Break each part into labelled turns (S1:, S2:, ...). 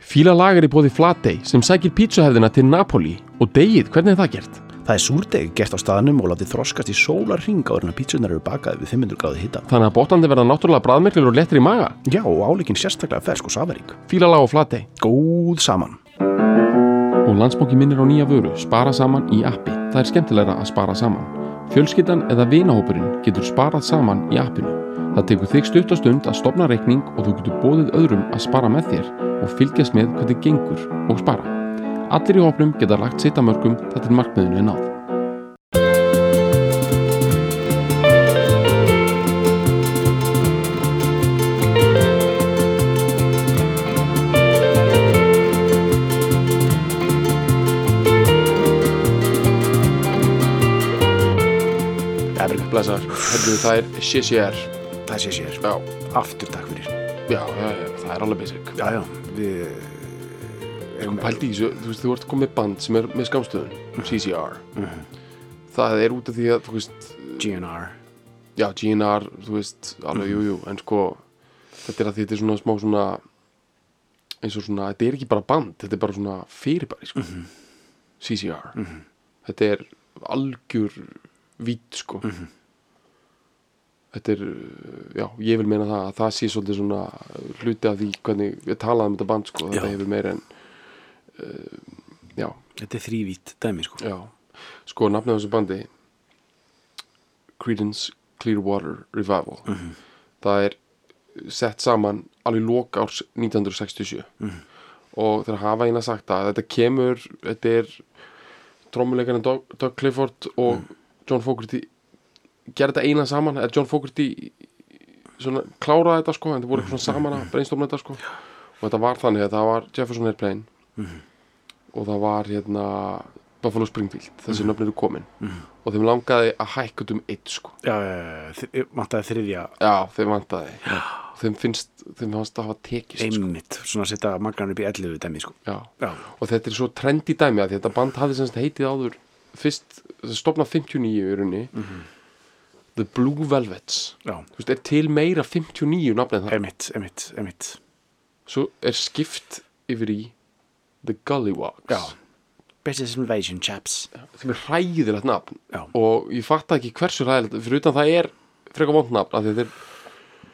S1: Fíla lagar í bóði Flatey sem sækir pítsuhefðina til Napoli og degið, hvernig er það gert?
S2: Það er súrdeg gert á staðnum og látið þroskast í sólar hring áður en að pítsunar eru bakaði við 500 gráði hitta.
S1: Þannig að botandi verða náttúrulega bræðmerklur og lettir í maga.
S2: Já, og áleikin sérstaklega fersk og safarík.
S1: Fíla lag og Flatey.
S2: Góð saman.
S1: Og landsbóki minnir á nýja vöru, spara saman í appi. Það er skemmtilegra að spara saman. Fjölskyldan eða vinahópurinn getur sparað saman í appinu. Það tekur þig stutt og stund að stopna reikning og þú getur bóðið öðrum að spara með þér og fylgjast með hvernig gengur og spara. Allir í hópnum geta lagt sitt að mörgum þar til markmiðinu er náð.
S2: Efri,
S1: Blessar, hefðu það er CCR.
S2: það sé sér.
S1: Já,
S2: Aftur takk fyrir.
S1: já, já, já, það er alveg basic.
S2: Já, já, við...
S1: Erum pældi í þessu, þú veist, þú ert komið með band sem er með skamstöðun, CCR. Það er út af því að, þú veist,
S2: GNR.
S1: já, GNR, þú veist, alveg, jú, jú, en sko, þetta er að því þetta er svona smá svona, eins og svona, þetta er ekki bara band, þetta er bara svona fyrirbæri, sko, CCR. Þetta er algjör vít, sko. Þetta er, já, ég vil meina það að það sé svolítið svona hluti af því hvernig við talaðum um þetta band, sko, þetta
S2: Já.
S1: hefur meira en, uh, já,
S2: Þetta er þrývít dæmi, sko.
S1: Já, sko nafnið á þessu bandi Creedence Clearwater Revival það er sett saman alveg lok árs 1967 og þeir hafa eina sagt að þetta kemur þetta er trommuleikarinn Doug, Doug Clifford og John Fogerty gerði þetta eina saman eða John Fogerty svona kláraði þetta sko en það voru eitthvað svona saman að brainstorma þetta sko og þetta var þannig að það var Jefferson Airplane og það var hérna Buffalo Springfield, þessi nöfn eru komin og þeim langaði að hækka út um eitt sko.
S2: Já, já, já, vantaði þriðja
S1: já, þeim vantaði og þeim finnst, þeim fannst að hafa tekist sko.
S2: einmitt, svona að setja maggan upp í 11 dæmi, sko.
S1: já.
S2: Já,
S1: og þetta er svo trendi dæmi að því þetta band hafði semst heitið áður fyrst, það stopnað 59 í rauninni The Blue Velvets
S2: já,
S1: þú veist, er til meira 59 nafn en það,
S2: einmitt, einmitt, einmitt.
S1: svo er skipt yfir í The Gullywogs
S2: Já. Business Invasion Chaps.
S1: sem er hræðilegt nafn
S2: Já.
S1: og ég fatta ekki hversu hræðilegt fyrir utan það er frekar vond nafn af því þetta er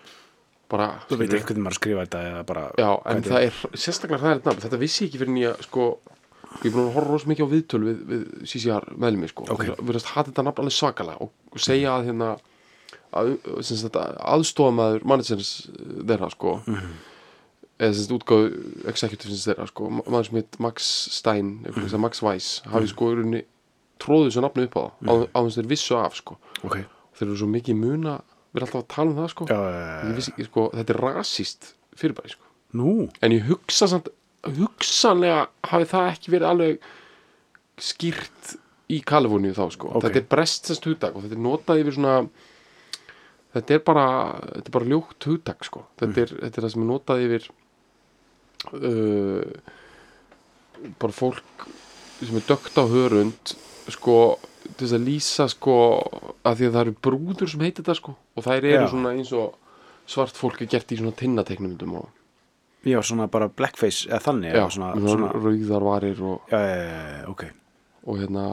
S1: bara
S2: Þú veit ekki hvernig maður skrifa þetta eða bara...
S1: já, en það er sérstaklega hræðilegt nafn þetta vissi ég ekki fyrir nýja sko ég er búin að horfa rosa mikið á viðtöl við, við CCR meðlumi sko
S2: Ok.
S1: við erum að hata þetta nafn alveg svakalega og, og segja að hérna að, sem sagt, aðstofamaður mannsins þeirra sko
S2: Mhm.
S1: eða sem sagt útgáðu executivins þeirra sko, ma- maður sem heit Max Stein eitthvað
S2: Mhm.
S1: sem Max Weiss, hafi sko í rauninni tróðu þessu nafnu upp á
S2: Mhm.
S1: það á þess þeir vissu af sko,
S2: Ok.
S1: þeir eru svo mikið í muna við erum alltaf að tala um það sko
S2: Já, já, já, já.
S1: ég vissi ekki sko, þetta er rasist fyrirbæri sko,
S2: Nú,
S1: en ég hugsa samt hugsanlega hafi það ekki verið alveg skýrt í Kaliforníu þá sko
S2: Ok.
S1: þetta er brest sérst hugtak og þetta er notað yfir svona þetta er bara, þetta er bara ljótt hugtak sko
S2: Mm.
S1: þetta er, þetta er það sem er notað yfir uh, bara fólk sem er dögt á hörund sko til þess að lýsa sko að því að það eru brúður sem heitir þetta sko og þær eru
S2: Já.
S1: svona eins og svart fólk er gert í svona tinnateknumundum og
S2: já, svona bara blackface eða þannig,
S1: já,
S2: eða svona,
S1: með
S2: svona,
S1: rauðar varir og,
S2: já, já, já, já, ok,
S1: og hérna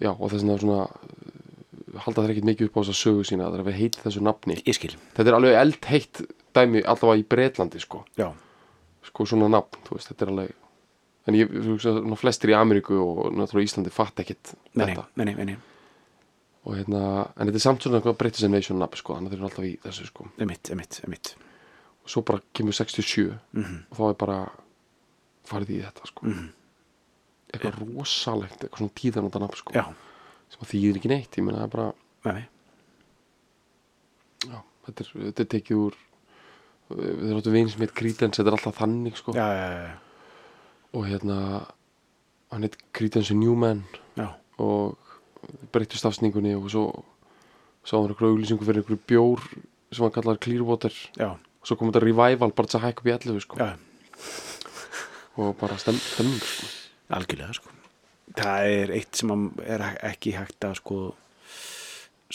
S1: já, og þess vegna svona uh, halda þeir ekkert mikið upp á þessa sögu sína þegar við heitir þessu nafni
S2: ég skil,
S1: þetta er alveg eldheitt dæmi allavega í Bretlandi sko,
S2: já,
S1: sko svona nafn, þú veist, þetta er alveg en ég þú veist að svona flestir í Ameríku og náttúrulega Íslandi fatt ekkert
S2: meni,
S1: þetta
S2: meni, meni,
S1: og hérna, en þetta er samt svona eitthvað British Invasion nafn sko, þannig að þeir eru alltaf í þessu sko
S2: einmitt, einmitt, einmitt,
S1: og svo bara kemur 67
S2: Mhm.
S1: og þá er bara farið í þetta sko eitthvað rosalegt, eitthvað svona tíðanóta nafn sko
S2: já,
S1: sem að þýðir ekki neitt, ég meina það er bara
S2: meni,
S1: já, þetta, er, þetta er tekið úr við erum áttu veginn sem heit Creedence þetta er alltaf þannig sko
S2: já, já, já, já,
S1: og hérna, hann heit Creedence Newman
S2: já,
S1: og breyttu stafsningunni og svo sá hann eitthvað auglýsingu fyrir einhverju bjór sem hann kallar Clearwater
S2: já,
S1: og svo kom þetta revival bara til að hækka upp í 11 sko
S2: já,
S1: og bara stem, stemming sko
S2: algjörlega sko það er eitt sem að er ekki hægt að sko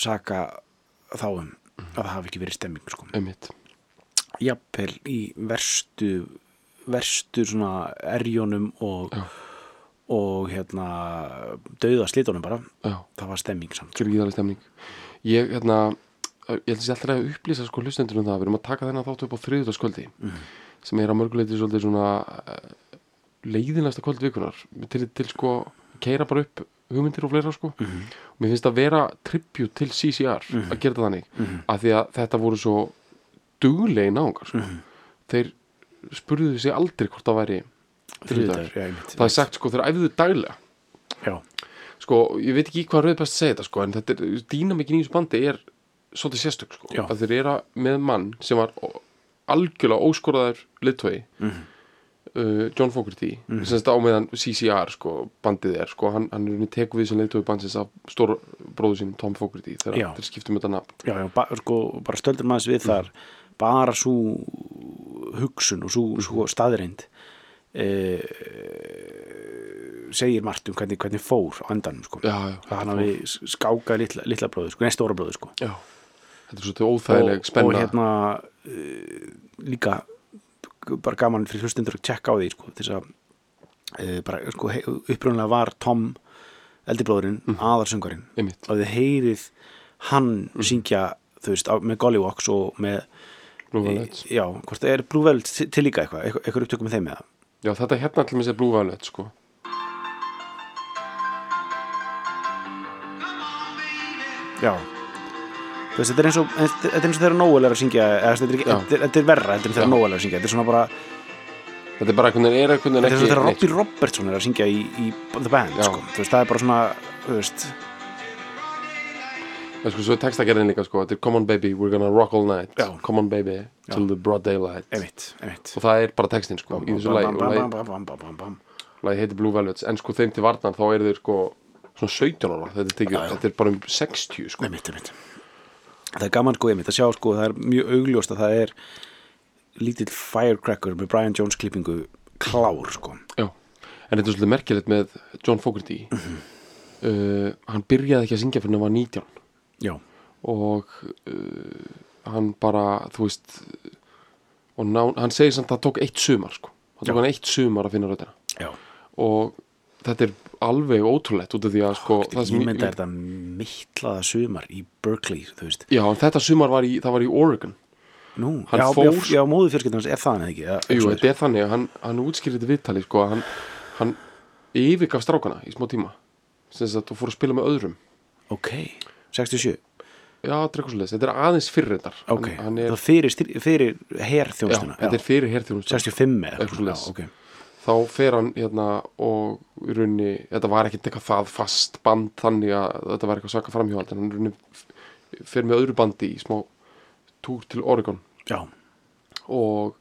S2: saka þá um að það hafi ekki verið stemming sko
S1: einmitt,
S2: jafnvel í verstu verstu svona erjónum og, og hérna dauða slítunum bara
S1: já,
S2: það var stemming samt
S1: gríðarlega stemning ég, hérna, ég held að sé alltaf að upplýsa sko hlustendur um það, við erum að taka þennan þáttu upp á þriðutaskvöldi
S2: Mhm.
S1: mm. sem er að mörguleiti svolítið svona eh, leiðinasta kvöld vikunar til, til sko, keira bara upp hugmyndir og fleira sko
S2: Mhm.
S1: og mér finnst að vera tribut til CCR að gera það þannig, mm
S2: Mhm.
S1: að því að þetta voru svo duglegi náungar sko.
S2: Mhm.
S1: þeir spurðu sig aldrei hvort það væri
S2: Þriðjudagur,
S1: þriðjudagur.
S2: já, einmitt.
S1: það er sagt sko, þeir æfðu daglega
S2: já,
S1: sko, ég veit ekki hvað rauðpest segir þetta sko, en þetta er, dýnamikin í þessu bandi er svolítið sérstök sko,
S2: Já.
S1: að þeir eru að- með mann sem var ó- algjörlega óskoraður litói
S2: Mhm.
S1: uh, John Fogarty mm. sem þetta á meðan CCR sko, bandið er, sko, hann, hann er unni teku við sem litói bandsins af stór bróðu sínum Tom Fogarty,
S2: Já.
S1: þegar þeir skiptum þetta nafn
S2: já, já ba sko, bara stöldur maður
S1: Mm.
S2: við þar bara svo hugsun og svo, svo staðreind e, segir margt um hvernig, hvernig fór á endanum sko.
S1: já, já,
S2: að hann hafi skákað litla, litla bróður sko, neða stóra bróður sko.
S1: já þetta er svolítið óþægileg
S2: og
S1: spenna
S2: hérna uh, líka g- bara gaman fyrir hlustendur að tjekka á því sko, til þess að uh, bara, sko, he- upprunlega var Tom eldibróðurinn,
S1: Mhm.
S2: mm. aðarsöngarinn
S1: Einmitt.
S2: og þið heyrið hann
S1: Mm.
S2: syngja þú veist, á, með Gollywox og með
S1: Blue Violet
S2: já, hvort það er Blue Velvet til- til líka eitthvað, eitthvað, eitthvað upptökum með þeim með það
S1: já, þetta hérna allir með sér Blue Violet sko.
S2: Já Þú veist, þetta er eins og, eins- þetta er eins og þeirra Nóel er að syngja eða, þú veist, þetta, er ekki,
S1: Já.
S2: þetta, er, þetta er verra heldur en þeirra
S1: Já.
S2: Nóel er að syngja þetta er svona bara,
S1: þetta er bara einhvern veginn er einhvern
S2: þetta er
S1: veginn
S2: eins og þeirra
S1: ekki
S2: Robbie Robertson er að syngja í, í The Band
S1: Já.
S2: sko. þú veist, það er bara svona þú veist,
S1: Já, sko, svo er textagerðin líka, sko, þetta er Come on baby, we're gonna rock all night
S2: Já.
S1: Come on baby, till the broad daylight
S2: einmitt, einmitt
S1: Og það er bara textin, sko, í þessu lagi Og lagi-
S2: bam, bam, bam, bam, bam.
S1: lagi heitir Blue Velvets En sko, þeim til varnar, þá eru þeir, sko, svona 17 ára Þetta er, tekið, þetta er bara um 60, sko
S2: einmitt, einmitt það er gaman sko, einmitt að sjá sko, það er mjög augljóst að það er lítill firecracker með Brian Jones klippingu klár sko
S1: Já, en þetta er svolítið merkilegt með John Fogarty
S2: Mhm.
S1: uh, Hann byrjaði ekki að syngja fyrir hann var 19
S2: já,
S1: og uh, hann bara þú veist og ná, hann segir samt að það tók eitt sumar sko. það tók
S2: Já.
S1: hann eitt sumar að finna röddina
S2: já
S1: og þetta er alveg ótrúlegt út af því að sko, það sem-
S2: ég mynda er þetta mittlaða sumar í Berkeley, þú veist
S1: já, en þetta sumar var í, það var í Oregon
S2: Nú,
S1: Hann
S2: já,
S1: fór-
S2: já, já, móðu fjörskiptin hans er það hann eða ekki eða-
S1: Jú,
S2: svo
S1: þetta er þannig, að hann, hann útskýrði þetta viðtali sko, að hann, hann yfirgaf strákana í smá tíma sem sagt og fór að spila með öðrum
S2: Ok, 67
S1: já, þetta er eitthvað svoleiðis, þetta er aðeins fyrir þetta
S2: Ok,
S1: hann, hann er,
S2: það fyrir, stýr- fyrir
S1: já,
S2: herþjónstuna
S1: þetta er fyrir herþjónustan
S2: 65 eða
S1: Eitthvað svoleiðis.
S2: já, ok.
S1: þá fer hann hérna og í rauninni, þetta var ekkert eitthvað það fast band þannig að þetta var eitthvað svaka framhjóðald en hann í rauninni fer með öðru bandi í smá túr til Oregon
S2: Já,
S1: og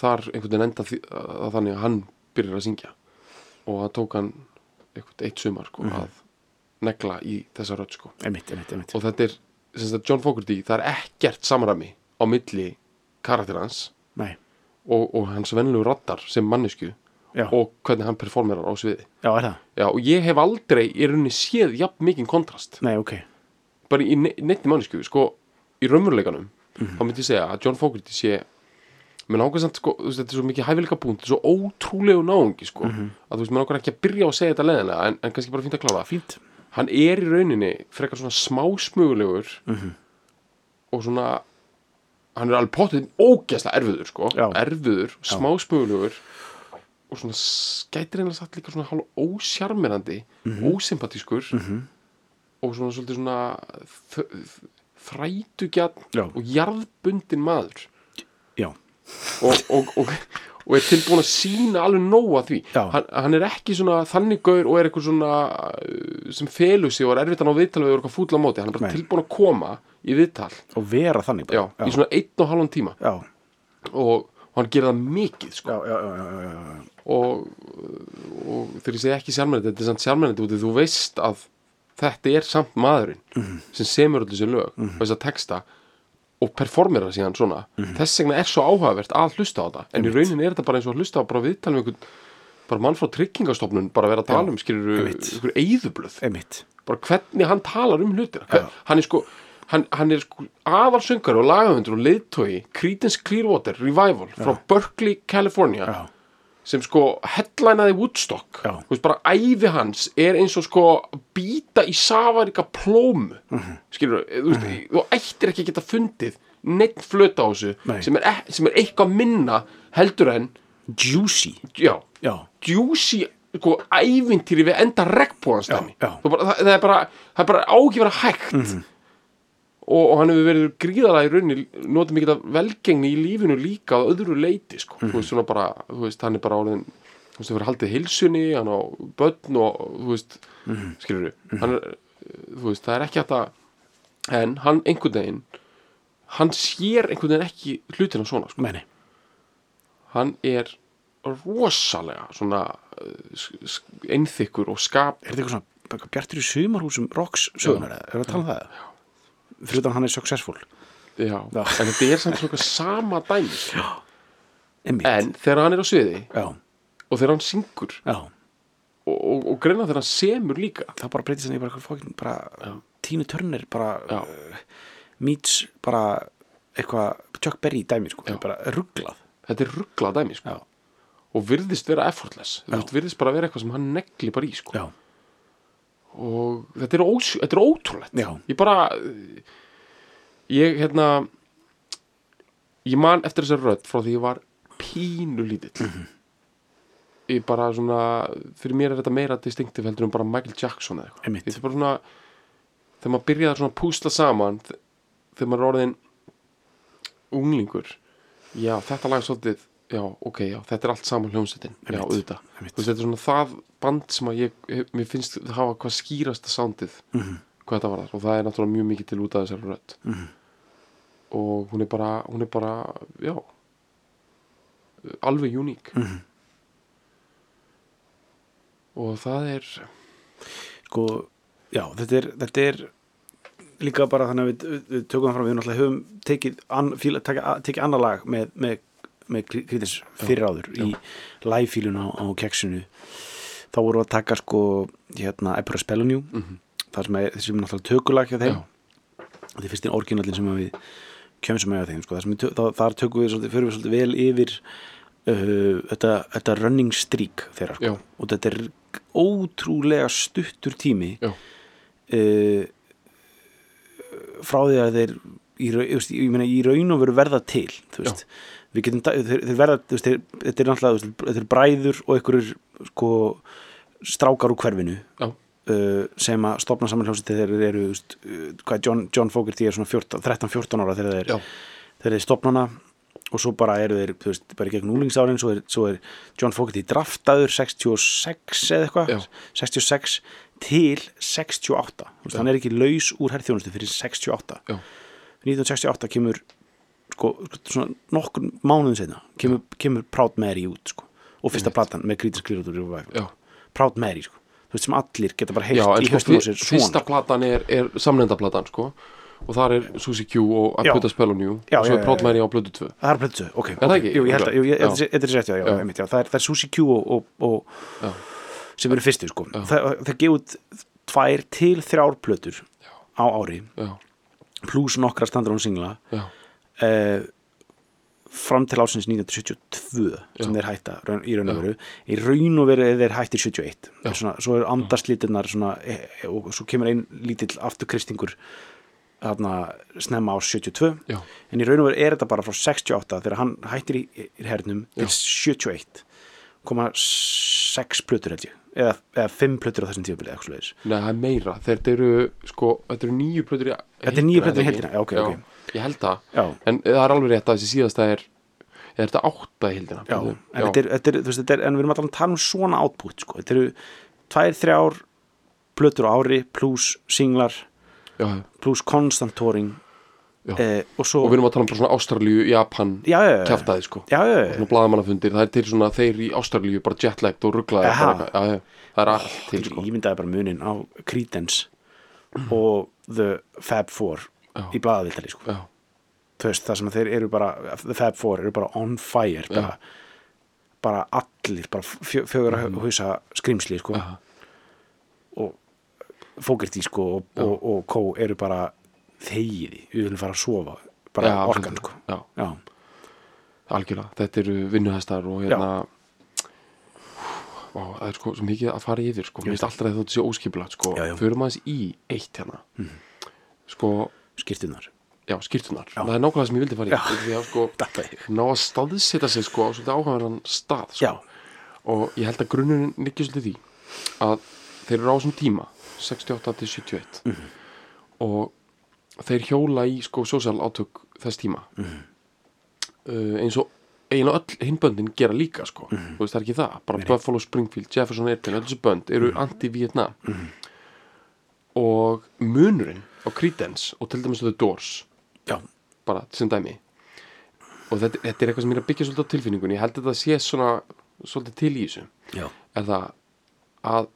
S1: þar einhvern veginn enda því, að þannig að hann byrjar að syngja og það tók hann einhvern eitt sumar sko, að negla í þessa rödd sko.
S2: einmitt, einmitt, einmitt
S1: og þetta er, sem sagt, John Fogarty það er ekkert samræmi á milli karakter hans
S2: Nei,
S1: og, og hans venlegu roddar sem mannesku
S2: já,
S1: og hvernig hann performerar á sviði
S2: já, er það
S1: Já, og ég hef aldrei í rauninni séð jafn mikinn kontrast
S2: Nei, ok,
S1: bara í ne- neinni mannesku, sko í raumurleikanum,
S2: Mhm.
S1: þá myndi ég segja að John Fogarty sé mér langar samt, sko, þú veist, þetta er svo mikið hæfileika búnt svo ótrúlegu náungi, sko
S2: Mhm.
S1: að þú veist, mér langar ekki að byrja á að segja þetta leðilega en, en kannski bara fínt að klára það
S2: fínt
S1: hann er í rauninni frekar svona smásmugulegur
S2: Mhm.
S1: og svona hann er alveg pottið ógeðslega erfiður sko,
S2: Já.
S1: erfiður, smásmugulegur og svona skætir einlega satt líka svona hálf ósjarmerandi
S2: Mhm.
S1: ósympatískur og svona svolítið svona þ- þ- þrætugjarn
S2: Já.
S1: og jarðbundin maður
S2: Já,
S1: og, og, og, og er tilbúin að sína alveg nóa því
S2: Já.
S1: hann, hann er ekki svona þannig gaur og er eitthvað svona uh, sem felur sig og er erfitt að ná viðtal við og er eitthvað fúll á móti, hann er bara
S2: Nei.
S1: tilbúin að koma í viðtal,
S2: og vera þannig
S1: já,
S2: bara
S1: í svona einn og halvan tíma
S2: já,
S1: og, og hann gerir það mikið sko.
S2: já, já, já, já, já, já, já.
S1: og, og þegar ég segi ekki sjálfmennandi þetta er samt sjálfmennandi út af því þú veist að þetta er samt maðurinn sem semur öllu sér lög og þess að texta og performera síðan svona þess vegna er svo áhugavert að hlusta á það en í rauninni er þetta bara eins og að hlusta á bara viðtalum einhvern, bara mann frá tryggingastofnun bara að vera að tala um skilur
S2: einmitt.
S1: einhver eyðublöð
S2: Einmitt,
S1: bara hvernig hann talar um hlutina Hver, hann er sko hann, hann er sko aðalsöngari og lagavöndur og leiðtói Creedence Clearwater Revival frá Berkeley, California
S2: Já.
S1: sem sko headlænaði Woodstock
S2: Já.
S1: Þú veist, bara æfi hans er eins og sko að býta í safaríka plóm mm
S2: Mhm.
S1: -hmm. skilur, þú veist, þú ættir ekki að geta fundið neitt flöta á þessu
S2: Nei.
S1: sem er, e- sem er eitthvað minna heldur en,
S2: Juicy
S1: já,
S2: Já,
S1: djúsi sko, ævintýri við enda regnbóðans dæmi
S2: já. Mhm.
S1: Það, er bara- það, það er bara, það er bara ágifara hægt og, og hann hefur verið gríðalega í rauninni notið mikið af velgengni í lífinu líka á öðru leiti sko.
S2: Mhm.
S1: þú veist svona bara, þú veist, hann er bara orðin þú veist, það fyrir haldið heilsunni hann á börn og, þú veist mm
S2: Mhm.
S1: -hmm. skilur við, hann er þú veist, það er ekki hægt að en hann einhvern veginn hann sér einhvern veginn ekki hlutina svona sko
S2: meni
S1: hann er rosalega svona uh, sk- sk- einþykkur og skap
S2: Er þetta eitthvað svona eitthvað bjartur í sumarhúsum rocks sögunar eða? Er það að tala um það? Fyrir utan hann er successful
S1: já.
S2: Já.
S1: en þetta er samt svona sama dæmi sko.
S2: Einmitt.
S1: en þegar hann er á sviði
S2: Já,
S1: og þegar hann syngur
S2: já
S1: og, og, og greina þegar hann semur líka
S2: Það bara breytist hann í bara eitthvað fókin bara tínu törnir bara
S1: Já.
S2: uh, meets bara eitthvað Chuck Berry dæmi sko, bara rugglað
S1: þetta er ruggla dæmi sko.
S2: Já,
S1: og virðist vera effortless
S2: Já.
S1: þetta virðist bara vera eitthvað sem hann negli bara í sko.
S2: já,
S1: og þetta er, ós, þetta er ótrúlegt
S2: Já.
S1: ég bara ég hérna ég man eftir þessar rödd frá því ég var pínu lítill
S2: Mhm.
S1: ég bara svona fyrir mér er þetta meira distinctive heldur en bara Michael Jackson eða eitthvað
S2: Einmitt.
S1: þetta er bara svona þegar maður byrjaði svona að púsla saman þ- þegar maður er orðin unglingur já þetta lag er svolítið já ok já þetta er allt saman hljómsettin já
S2: Einmitt.
S1: auðvitað
S2: Einmitt.
S1: Þú veist, þetta er svona það band sem að ég, hef- mér finnst hafa hvað skýrasta soundið
S2: Mhm.
S1: hvað þetta var þar og það er náttúrulega mjög mikið til út af þessari rödd -hmm. og hún er bara hún er bara, já alveg uník mm
S2: Mhm.
S1: -hmm. og það er
S2: sko, já, þetta er, þetta er líka bara þannig að við, við tökum það fram við náttúrulega höfum tekið, an, fíla, taka, tekið annar lag með, með, með kritis fyrir áður í live-fílun á, á keksinu þá vorum við að taka sko hérna, Epura Spellanjú mm -hmm. það sem er, sem er náttúrulega tökulag hjá þeim
S1: Já.
S2: og því fyrst þín orginallin sem að við kemsum með á þeim sko, þar, sem við, tö- þá, þar tökum við svolítið, förum við svolítið vel yfir uh, þetta, þetta running streak þeirra sko.
S1: Já.
S2: og þetta er ótrúlega stuttur tími
S1: já,
S2: uh, frá því að þeir í, ra- þú veist, ég meina, í raun og veru verða til þú veist við getum, da- þeir, þeir verða, þú veist, þeir, þetta er náttúrulega þú veist, þetta er bræður og einhverjur sko, strákar úr hverfinu
S1: já,
S2: uh, sem að stopna saman hljómsið þegar þeir eru, þú veist, uh, hvað John, John Fogerty er svona 13-14 ára þegar þeir,
S1: Já.
S2: þegar þeir stopna hana og svo bara eru þeir, þú veist, bara í gegn úlingsárin svo er, svo er John Fogerty draftaður 66 eða
S1: Já.
S2: eitthvað 66 til 68 þú veist, hann er ekki laus úr herrþjónustu fyrir 68
S1: já,
S2: 1968 kemur sko, svona nokkur mánuðin setna kemur, kemur Proud Mary út sko, og fyrsta platan með Creedence Clearwater Revival
S1: já.
S2: Proud Mary sko. þú veist sem allir geta bara heilt
S1: já en
S2: í
S1: sko,
S2: höstum á
S1: fyr-
S2: sér
S1: fyrsta
S2: svona
S1: platan er, er samlendaplatan sko og þar er Susie Q og að
S2: Já.
S1: puta spelunjú
S2: Já,
S1: og svo
S2: já,
S1: er
S2: já,
S1: Proud Mary á blödu 2
S2: Það er plötsu, ok,
S1: það
S2: ok.
S1: ekki?
S2: Jú, ég held að, jú, ég,
S1: Já.
S2: þetta er- þetta er rétt, já, já,
S1: Já.
S2: einmitt, já. Það, er, það er Susie Q og, og, og
S1: Já.
S2: sem eru fyrstu, sko Það, það gefa út tvær til þrjár plötur á ári
S1: já,
S2: pluss nokkra standar hún singla
S1: já,
S2: eh, fram til ásins 1972 sem þeir hætta raun- í raun og veru í raun og veru er þeir hættir 71 Það er svona, svo eru andarslítirnar svona, eh, eh, og svo kemur einn lítill afturkristingur þarna snemma á 72
S1: Já.
S2: en í raun og veru er þetta bara frá 68 þegar hann hættir í, í hernum til 71 koma 6 plötur held ég eða, eða 5 plötur á þessum tífabili eða eitthvað svoleiðis.
S1: Nei, það er meira, þetta eru sko, þetta eru nýju plötur í
S2: Þetta er níu
S1: heildina,
S2: plötur í
S1: ekki?
S2: heildina, já, ok, ok.
S1: Ég held það,
S2: Já.
S1: en það er alveg rétt að þessi síðasta er eða er þetta átta í heildina
S2: Já,
S1: Plötur?
S2: en þetta er, þetta er, þú veist, þetta er en við erum alltaf að tala um svona output sko. þetta eru tvær, þrjár plötur á ári, pluss singlar
S1: já,
S2: pluss constant touring
S1: Já.
S2: eh, og svo
S1: og við erum að tala um bara svona Ástralíu, Japan
S2: já, já, já, já,
S1: kjaftaði sko,
S2: já, já, já.
S1: svona blaðamannafundir það er til svona þeir í Ástralíu bara jetlagt og rugglaði
S2: Jaha.
S1: já, já, það er allt til
S2: Ég
S1: sko
S2: ímyndaði bara munin á Creedence og The Fab Four
S1: Já.
S2: í blaðavildari sko.
S1: já,
S2: þú veist, það sem að þeir eru bara The Fab Four eru bara on fire bara, bara allir bara fjö, fjögur
S1: Mhm.
S2: að hausa skrýmsli sko.
S1: Já.
S2: og Fogerty sko, og, og, og Co eru bara þegiði, við viljum fara að sofa bara
S1: Já,
S2: orkan
S1: absolutt.
S2: sko.
S1: Já.
S2: Já.
S1: algjörlega, þetta eru vinnuhestar og hérna Vá, það er sko svo mikið að fara yfir sko. Mér finnst alltaf að þetta sé óskipulagt sko.
S2: Já, Mhm. já.
S1: Förum aðeins í eitt hérna Sko,
S2: skýrtunar
S1: já, skýrtunar Það er nákvæmlega sem ég vildi fara í
S2: Já.
S1: Því að sko,
S2: Datta ég.
S1: ná að staðsita sig sko á svolítið áhæðan stað sko.
S2: já,
S1: Og ég held að grunnurinn liggi svolítið í því að þeir eru á þessum tíma 68 til 71 og þeir hjóla í sko sósal átök þess tíma uh, eins og einn og öll hinböndin gera líka sko þú veist það er ekki það, bara Buffalo Springfield Jefferson Airplane, öll þessi bönd eru anti-Vietnam og munurinn á Creedence og til dæmis The Doors
S2: já,
S1: bara sem dæmi og þetta, þetta er eitthvað sem ég er að byggja svolítið á tilfinningunni ég held að þetta sé svona svolítið til í þessu
S2: já,
S1: er það að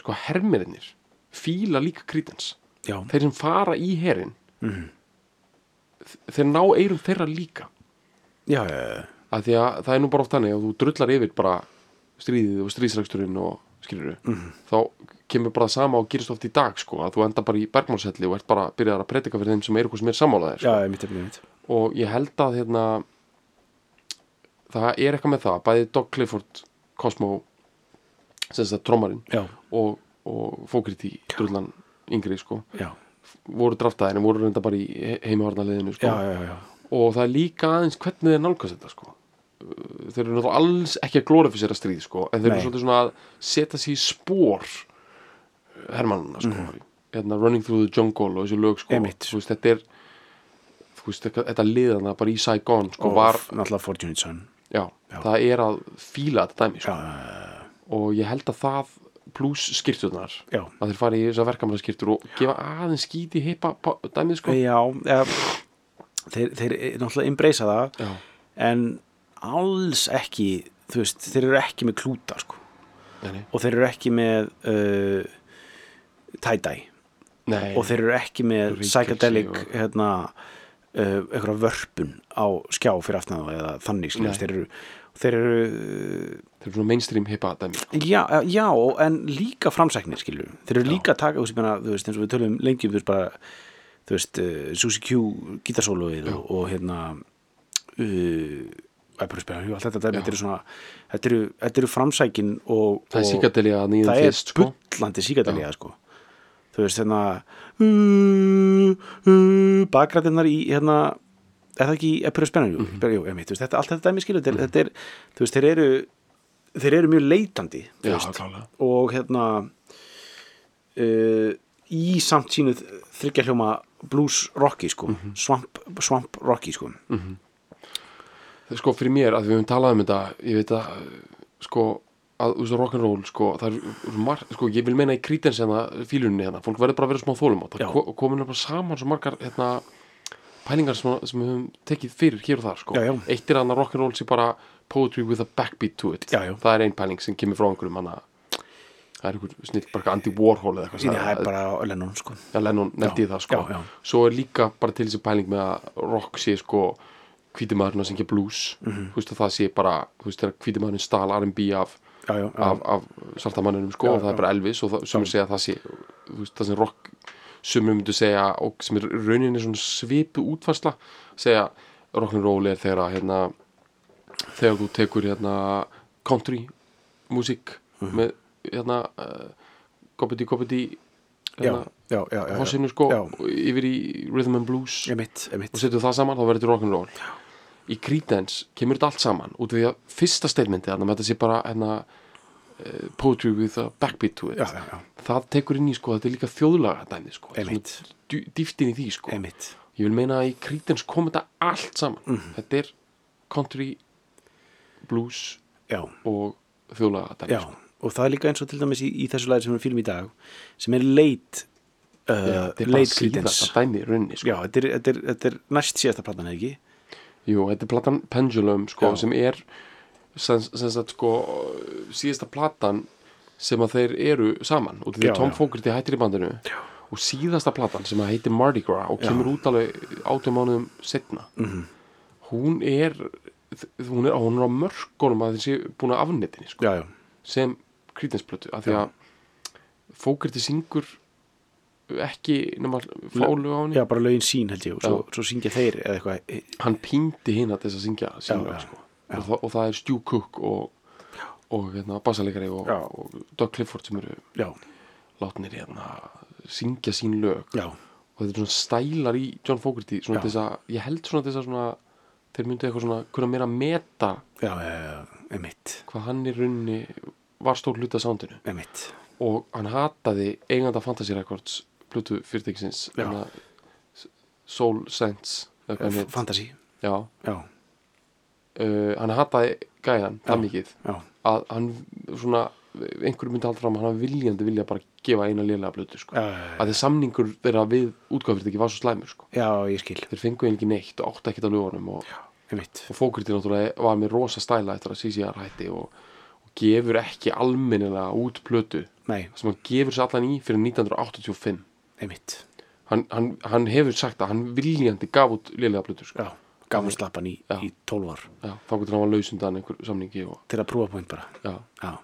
S1: sko hermiðinir fíla líka krítens
S2: já, Mhm.
S1: þeir sem fara í herin þeir ná eirum þeirra líka
S2: já, já, já.
S1: að því að það er nú bara oft þannig að þú drullar yfir bara stríðið og stríðsræksturinn og skilur
S2: Mhm.
S1: þá kemur bara sama og gerist oft í dag sko að þú enda bara í bergmálshelli og ert bara byrjar að predika fyrir þeim sem eru eitthvað sem er sammálaðir
S2: já, ég mitt, ég mitt
S1: og ég held að hérna það er eitthvað með það bæði Doug Clifford, Cosmo sem þess að trommarinn
S2: já,
S1: og, og fókriti drullan yngri sko
S2: já,
S1: voru draftaðir en voru reynda bara í heimavarnarliðinu sko
S2: já, já, já.
S1: og það er líka aðeins hvernig þeir nálgast þetta sko Uh, þeir eru náttúrulega alls ekki að glorifisera stríð sko en þeir eru
S2: Nei.
S1: svolítið svona að setja sér í spór hermannuna sko hérna Running Through the Jungle og þessi lög sko
S2: Mhm. Einmitt.
S1: þú veist þetta er þú veist þetta, þetta liðana bara í Saigon sko
S2: og
S1: var
S2: náttúrulega Fortunate Son
S1: já, það er að fíla þetta dæmi sko
S2: já, já,
S1: og ég held að það pluss skýrturnar
S2: já, já.
S1: að þeir fari í þessar verkamælaskýrtur og gefa aðeins skíti hippa pa- dæmið sko
S2: já eða, þeir, þeir náttúrulega embracea það
S1: Já.
S2: en alls ekki þú veist, þeir eru ekki með klúta sko.
S1: nei, nei.
S2: og þeir eru ekki með uh, tie-dye
S1: Nei,
S2: og þeir eru ekki með
S1: Ríkelsi
S2: psychedelic
S1: og-
S2: hérna uh, einhverja vörpun á skjá fyrir aftan þá eða þannig
S1: Nei.
S2: skiljast þeir eru, þeir eru uh,
S1: þeir eru svona mainstream hippa dæmi
S2: Já, eh, já, en líka framsæknir skilur Þeir eru líka að taka, þú veist, ég meina, þú veist, eins og við tölum lengi um, þú veist, bara, þú veist, uh, Susie Q gítarsóluið og, og hérna, uh, Æpur spila, allt þetta, dæmi, þetta eru svona, þetta eru, þetta eru framsækin og,
S1: það er
S2: og
S1: síkadelja að nýðan
S2: það er
S1: fyrst sko.
S2: bullandi síkadelega, sko. Þú veist, hérna, uh, uh, bakrætinnar í, hérna, er það ekki Æpur spila, jú,
S1: Mhm.
S2: jú, emitt, þú veist, þetta, allt þetta dæmi skilur, þetta er, þetta er, þú veist, þeir eru, þeir eru mjög leitandi, þú
S1: Já,
S2: veist
S1: klálega.
S2: og hérna uh, í samt sínu þryggja hljóma blues rocki sko
S1: Mhm.
S2: swamp, swamp rocki sko
S1: Það er sko fyrir mér að við höfum talað um þetta ég veit að uh, sko að þú veist rock'n'roll sko, það er mar, sko ég vil meina í krítens hérna fílunni hérna, fólk verður bara að vera smá þólum á
S2: Já.
S1: það ko- komin bara saman svo margar hérna, pælingar sem, sem við höfum tekið fyrir hér og þar sko,
S2: Já, já.
S1: eitt er að rock'n'roll sé bara poetry with a backbeat to it
S2: Já, já.
S1: það er ein pæling sem kemur frá einhverjum hana, það er einhver snill bara eitthvað Andy Warhol eða eitthvað
S2: síðan það
S1: sagði-
S2: er bara Lennon sko
S1: Já, Lennon nefndi það sko
S2: já, já.
S1: Svo er líka bara til þessi pæling með að rock sé sko hvítimaðurinn að syngja blues
S2: Mhm.
S1: Þú veist að það sé bara, þú veist þegar hvítimaðurinn stal R&B af,
S2: já, já, já,
S1: af, af svartamanninum sko
S2: Já,
S1: og það
S2: já.
S1: er bara Elvis og það, sumir segja að það sé þú veist, það sem rock sumir myndu segja og sem er rauninni svona svipu útfarsla segja rock'n'roll er þegar að, hérna, þegar þú tekur hérna country músík
S2: Mhm.
S1: með hérna uh, goppiti goppiti
S2: já,
S1: hérna,
S2: já, já, já, já.
S1: hossinu sko
S2: Já.
S1: yfir í rhythm and blues
S2: emitt, emitt
S1: og setur það saman þá verður þetta rock'n'roll í Creedence kemur þetta allt saman út af því að fyrsta statementi þannig að þetta sé bara hérna, eh, poetry with a backbeat to it
S2: já, já, já,
S1: það tekur inn í sko þetta er líka þjóðlaga dæmi sko
S2: Einmitt.
S1: dýftin í því sko
S2: emitt
S1: ég vil meina að í Creedence kom þetta allt saman
S2: Mhm.
S1: þetta er country blues
S2: já,
S1: og þjóðlaga sko. dæmi
S2: já, og það er líka eins og til dæmis í, í þessu lagi sem við fylgum í dag sem er late uh,
S1: þetta er bara
S2: late
S1: síðast
S2: credence
S1: að dæmi í rauninni sko.
S2: já, þetta er, þetta, er, þetta er næst síðasta platan eða ekki
S1: Jú, þetta er platan Pendulum sko,
S2: Já.
S1: sem er sem, sem sagt, sko, síðasta platan sem að þeir eru saman og því
S2: Já,
S1: að Tom
S2: já.
S1: Fogarty hættir í bandinu já. og síðasta platan sem að heitir Mardi Gras og kemur út alveg átum mánuðum setna
S2: Mhm.
S1: -hmm. hún er þ- hún er, hún er á mörgunum að þessi búin að afnetinni sko,
S2: já, já,
S1: sem krítinsplötu af því að Fogarty syngur ekki nema fálu á henni
S2: já, bara lögin sín held ég og svo, svo syngja þeir eða eitthvað
S1: hann píndi hinn að þess að syngja sína,
S2: já,
S1: sko. og, það, og það er Stu Cook og, og hérna, basalegari og,
S2: Já.
S1: og Doug Clifford sem eru
S2: já,
S1: látnir hérna, syngja sín lög
S2: já,
S1: og þetta er svona stælar í John Fogerty svona
S2: Já.
S1: þess að, ég held svona þess að svona þeir myndu eitthvað svona, kunna meira að meta
S2: já, já, emitt,
S1: hvað hann í rauninni var stór hluti af soundinu
S2: emitt,
S1: og hann hataði eiganda Fantasy Records Plutu fyrirtækisins
S2: Já. Eh,
S1: hérna, S- Soul Sense eða hvað hann hét.
S2: fantasi,
S1: Já,
S2: já,
S1: uh, hann hataði gæjan það
S2: Já.
S1: mikið
S2: já,
S1: að hann svona einhverjum myndi haldur fram að hann viljandi vilja bara gefa eina lélega blötu sko.
S2: já,
S1: að þeir samningur þeirra við útgáfyrirtæki var svo slæmur sko.
S2: já, ég skil,
S1: þeir fengu eiginlega ekki neitt og áttu ekkert á lögunum og,
S2: emitt,
S1: og fókriti náttúrulega var með rosa stæla eftir að CCR hætti og, og gefur ekki almennilega út blötu
S2: nei,
S1: sem hann gefur sér allan í fyrir 1985
S2: emitt,
S1: hann, hann, hann hefur sagt að hann viljandi gaf út lélega blötu sko.
S2: já, gaman slappan í,
S1: Já.
S2: í tólvar
S1: já, þá getur hann var lausundan einhver samningi og
S2: til að prófa point bara,
S1: já,
S2: já,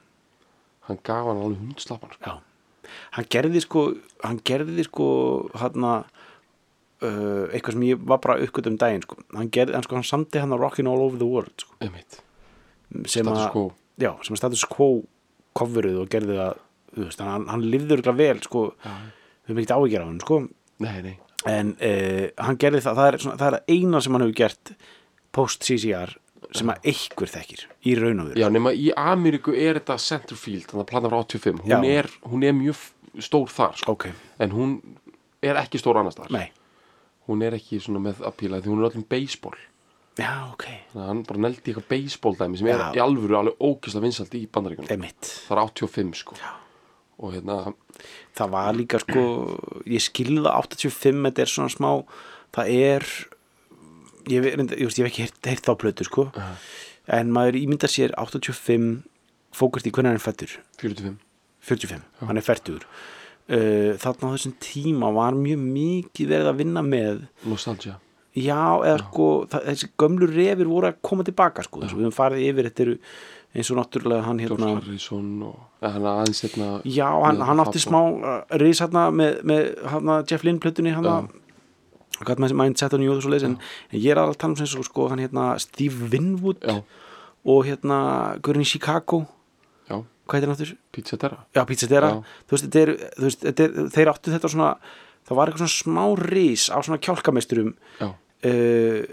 S1: hann gaf hann alveg hundslapan sko.
S2: já, hann gerði sko, hann gerði sko, hann að, Uh, eitthvað sem ég var bara uppgötum daginn sko. hann, gerði, hann, sko, hann samti hann að Rockin' All Over the World sko.
S1: Einmitt. sko,
S2: sem
S1: Status
S2: að
S1: quo.
S2: já, sem að status quo coveruð og gerði það þú veist, hann, hann lifður ykkur vel sko, við höfum ekkert áhyggjur af hann sko.
S1: nei, nei,
S2: en uh, hann gerði það það er, svona, það er að eina sem hann hefur gert post CCR sem að einhver þekkir í raun og veru
S1: Já, nema í Ameríku er þetta Centerfield, þannig að plana frá 85
S2: Já.
S1: hún er, hún er mjög f- stór þar sko.
S2: ok,
S1: en hún er ekki stór annars þar
S2: nei,
S1: hún er ekki svona með apíla því hún er allir baseball
S2: já ok
S1: þannig að hann bara neldi eitthvað baseball dæmi sem er
S2: Já.
S1: í alvöru alveg ókisla vinsalt í bandaríkunum
S2: Einmitt.
S1: það er 85 sko Já. og hérna,
S2: það var líka sko ég skilði það 85 þetta er svona smá, það er ég, ve- reyndar- ég, veist, ég hef ekki heyrt, heyrt þá plötu sko en maður ímyndar sér 85 fókast í hvernig hann er fættur
S1: 45
S2: 45, hann er 40 uh, þarna á þessum tíma var mjög mikið verið að vinna með
S1: Nostalgia
S2: já, eða sko það, þessi gömlu refir voru að koma tilbaka sko, þess að við höfum farið yfir, þetta eru eins og náttúrulega hann
S1: George
S2: hérna
S1: Harrison og eh, hann aðeins hérna
S2: já, hann,
S1: Neil
S2: hann átti
S1: Fabro.
S2: smá uh, ris hérna með, með hana, Jeff Lynn plötunni hérna hvað maður sem mindset og njóðu svo leiðis en, en ég er alveg að tala um sem svo sko hann hérna Steve Winwood
S1: Já.
S2: og hérna Gurin í Chicago
S1: Já,
S2: hvað heitir hann aftur?
S1: Pizza Terra
S2: Já, Pizzadera,
S1: Já.
S2: þú veist, þetta er, þú veist þetta er, þeir áttu þetta svona, það var eitthvað svona smá rís á svona kjálkameisturum
S1: Já,
S2: uh,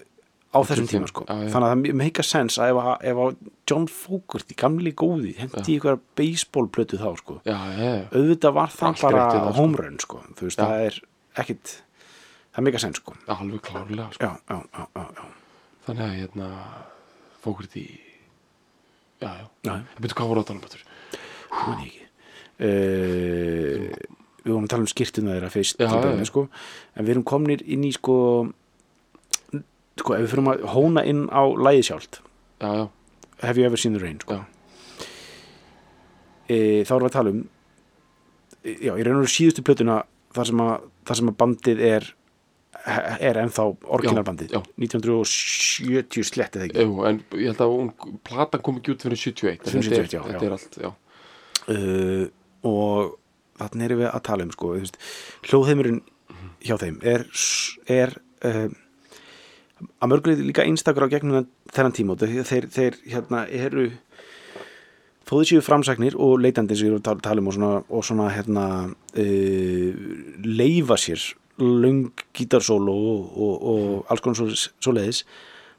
S2: á þessum tíma, sko.
S1: Já, já.
S2: Þannig að það meika sens að ef, að- ef að John Fogarty, gamli góði, hendi ykkur baseballplötu þá, sko.
S1: já, já, já.
S2: Auðvitað var það
S1: Allt
S2: bara
S1: rétt við það, sko.
S2: home run, sko. Þú veist, það er ekkit, það meika sens, sko.
S1: alveg klárlega sko.
S2: Já, já, já, já, já.
S1: þannig að hérna fókrið í já, já,
S2: Já.
S1: betur hvað voru að tala um betur
S2: Ég man ekki uh, við vorum að tala um skýrtuna þeirra fyrst
S1: Já,
S2: til
S1: já, já.
S2: dæmis, sko. en við erum komnir inn í sko, sko ef við fyrir að hóna inn á lægið sjálft
S1: já, já,
S2: Have You Ever Seen The Rain sko.
S1: Já.
S2: e, þá erum við að tala um e, já, ég reynur síðustu plötuna þar sem að, þar sem að bandið er er ennþá orginalbandið
S1: Já, já.
S2: 1970 slett eða ekki
S1: Jú, en ég held að hún, platan kom ekki út fyrir 71 en
S2: 71,
S1: þetta
S2: já,
S1: er,
S2: já.
S1: þetta er allt, já, E.
S2: uh, og þannig erum við að tala um sko, þú veist, hljóðheimurinn hjá þeim er, s- er uh, að mörguleiti líka einstakur á gegnum þennan- þennan tíma út af því að þeir, þeir hérna eru þó þið séu framsagnir og leitandi sem ég er að tala- tala um og svona, og svona hérna uh, leifa sér löng gítarsólu og, og, og alls konar svo, svo leiðis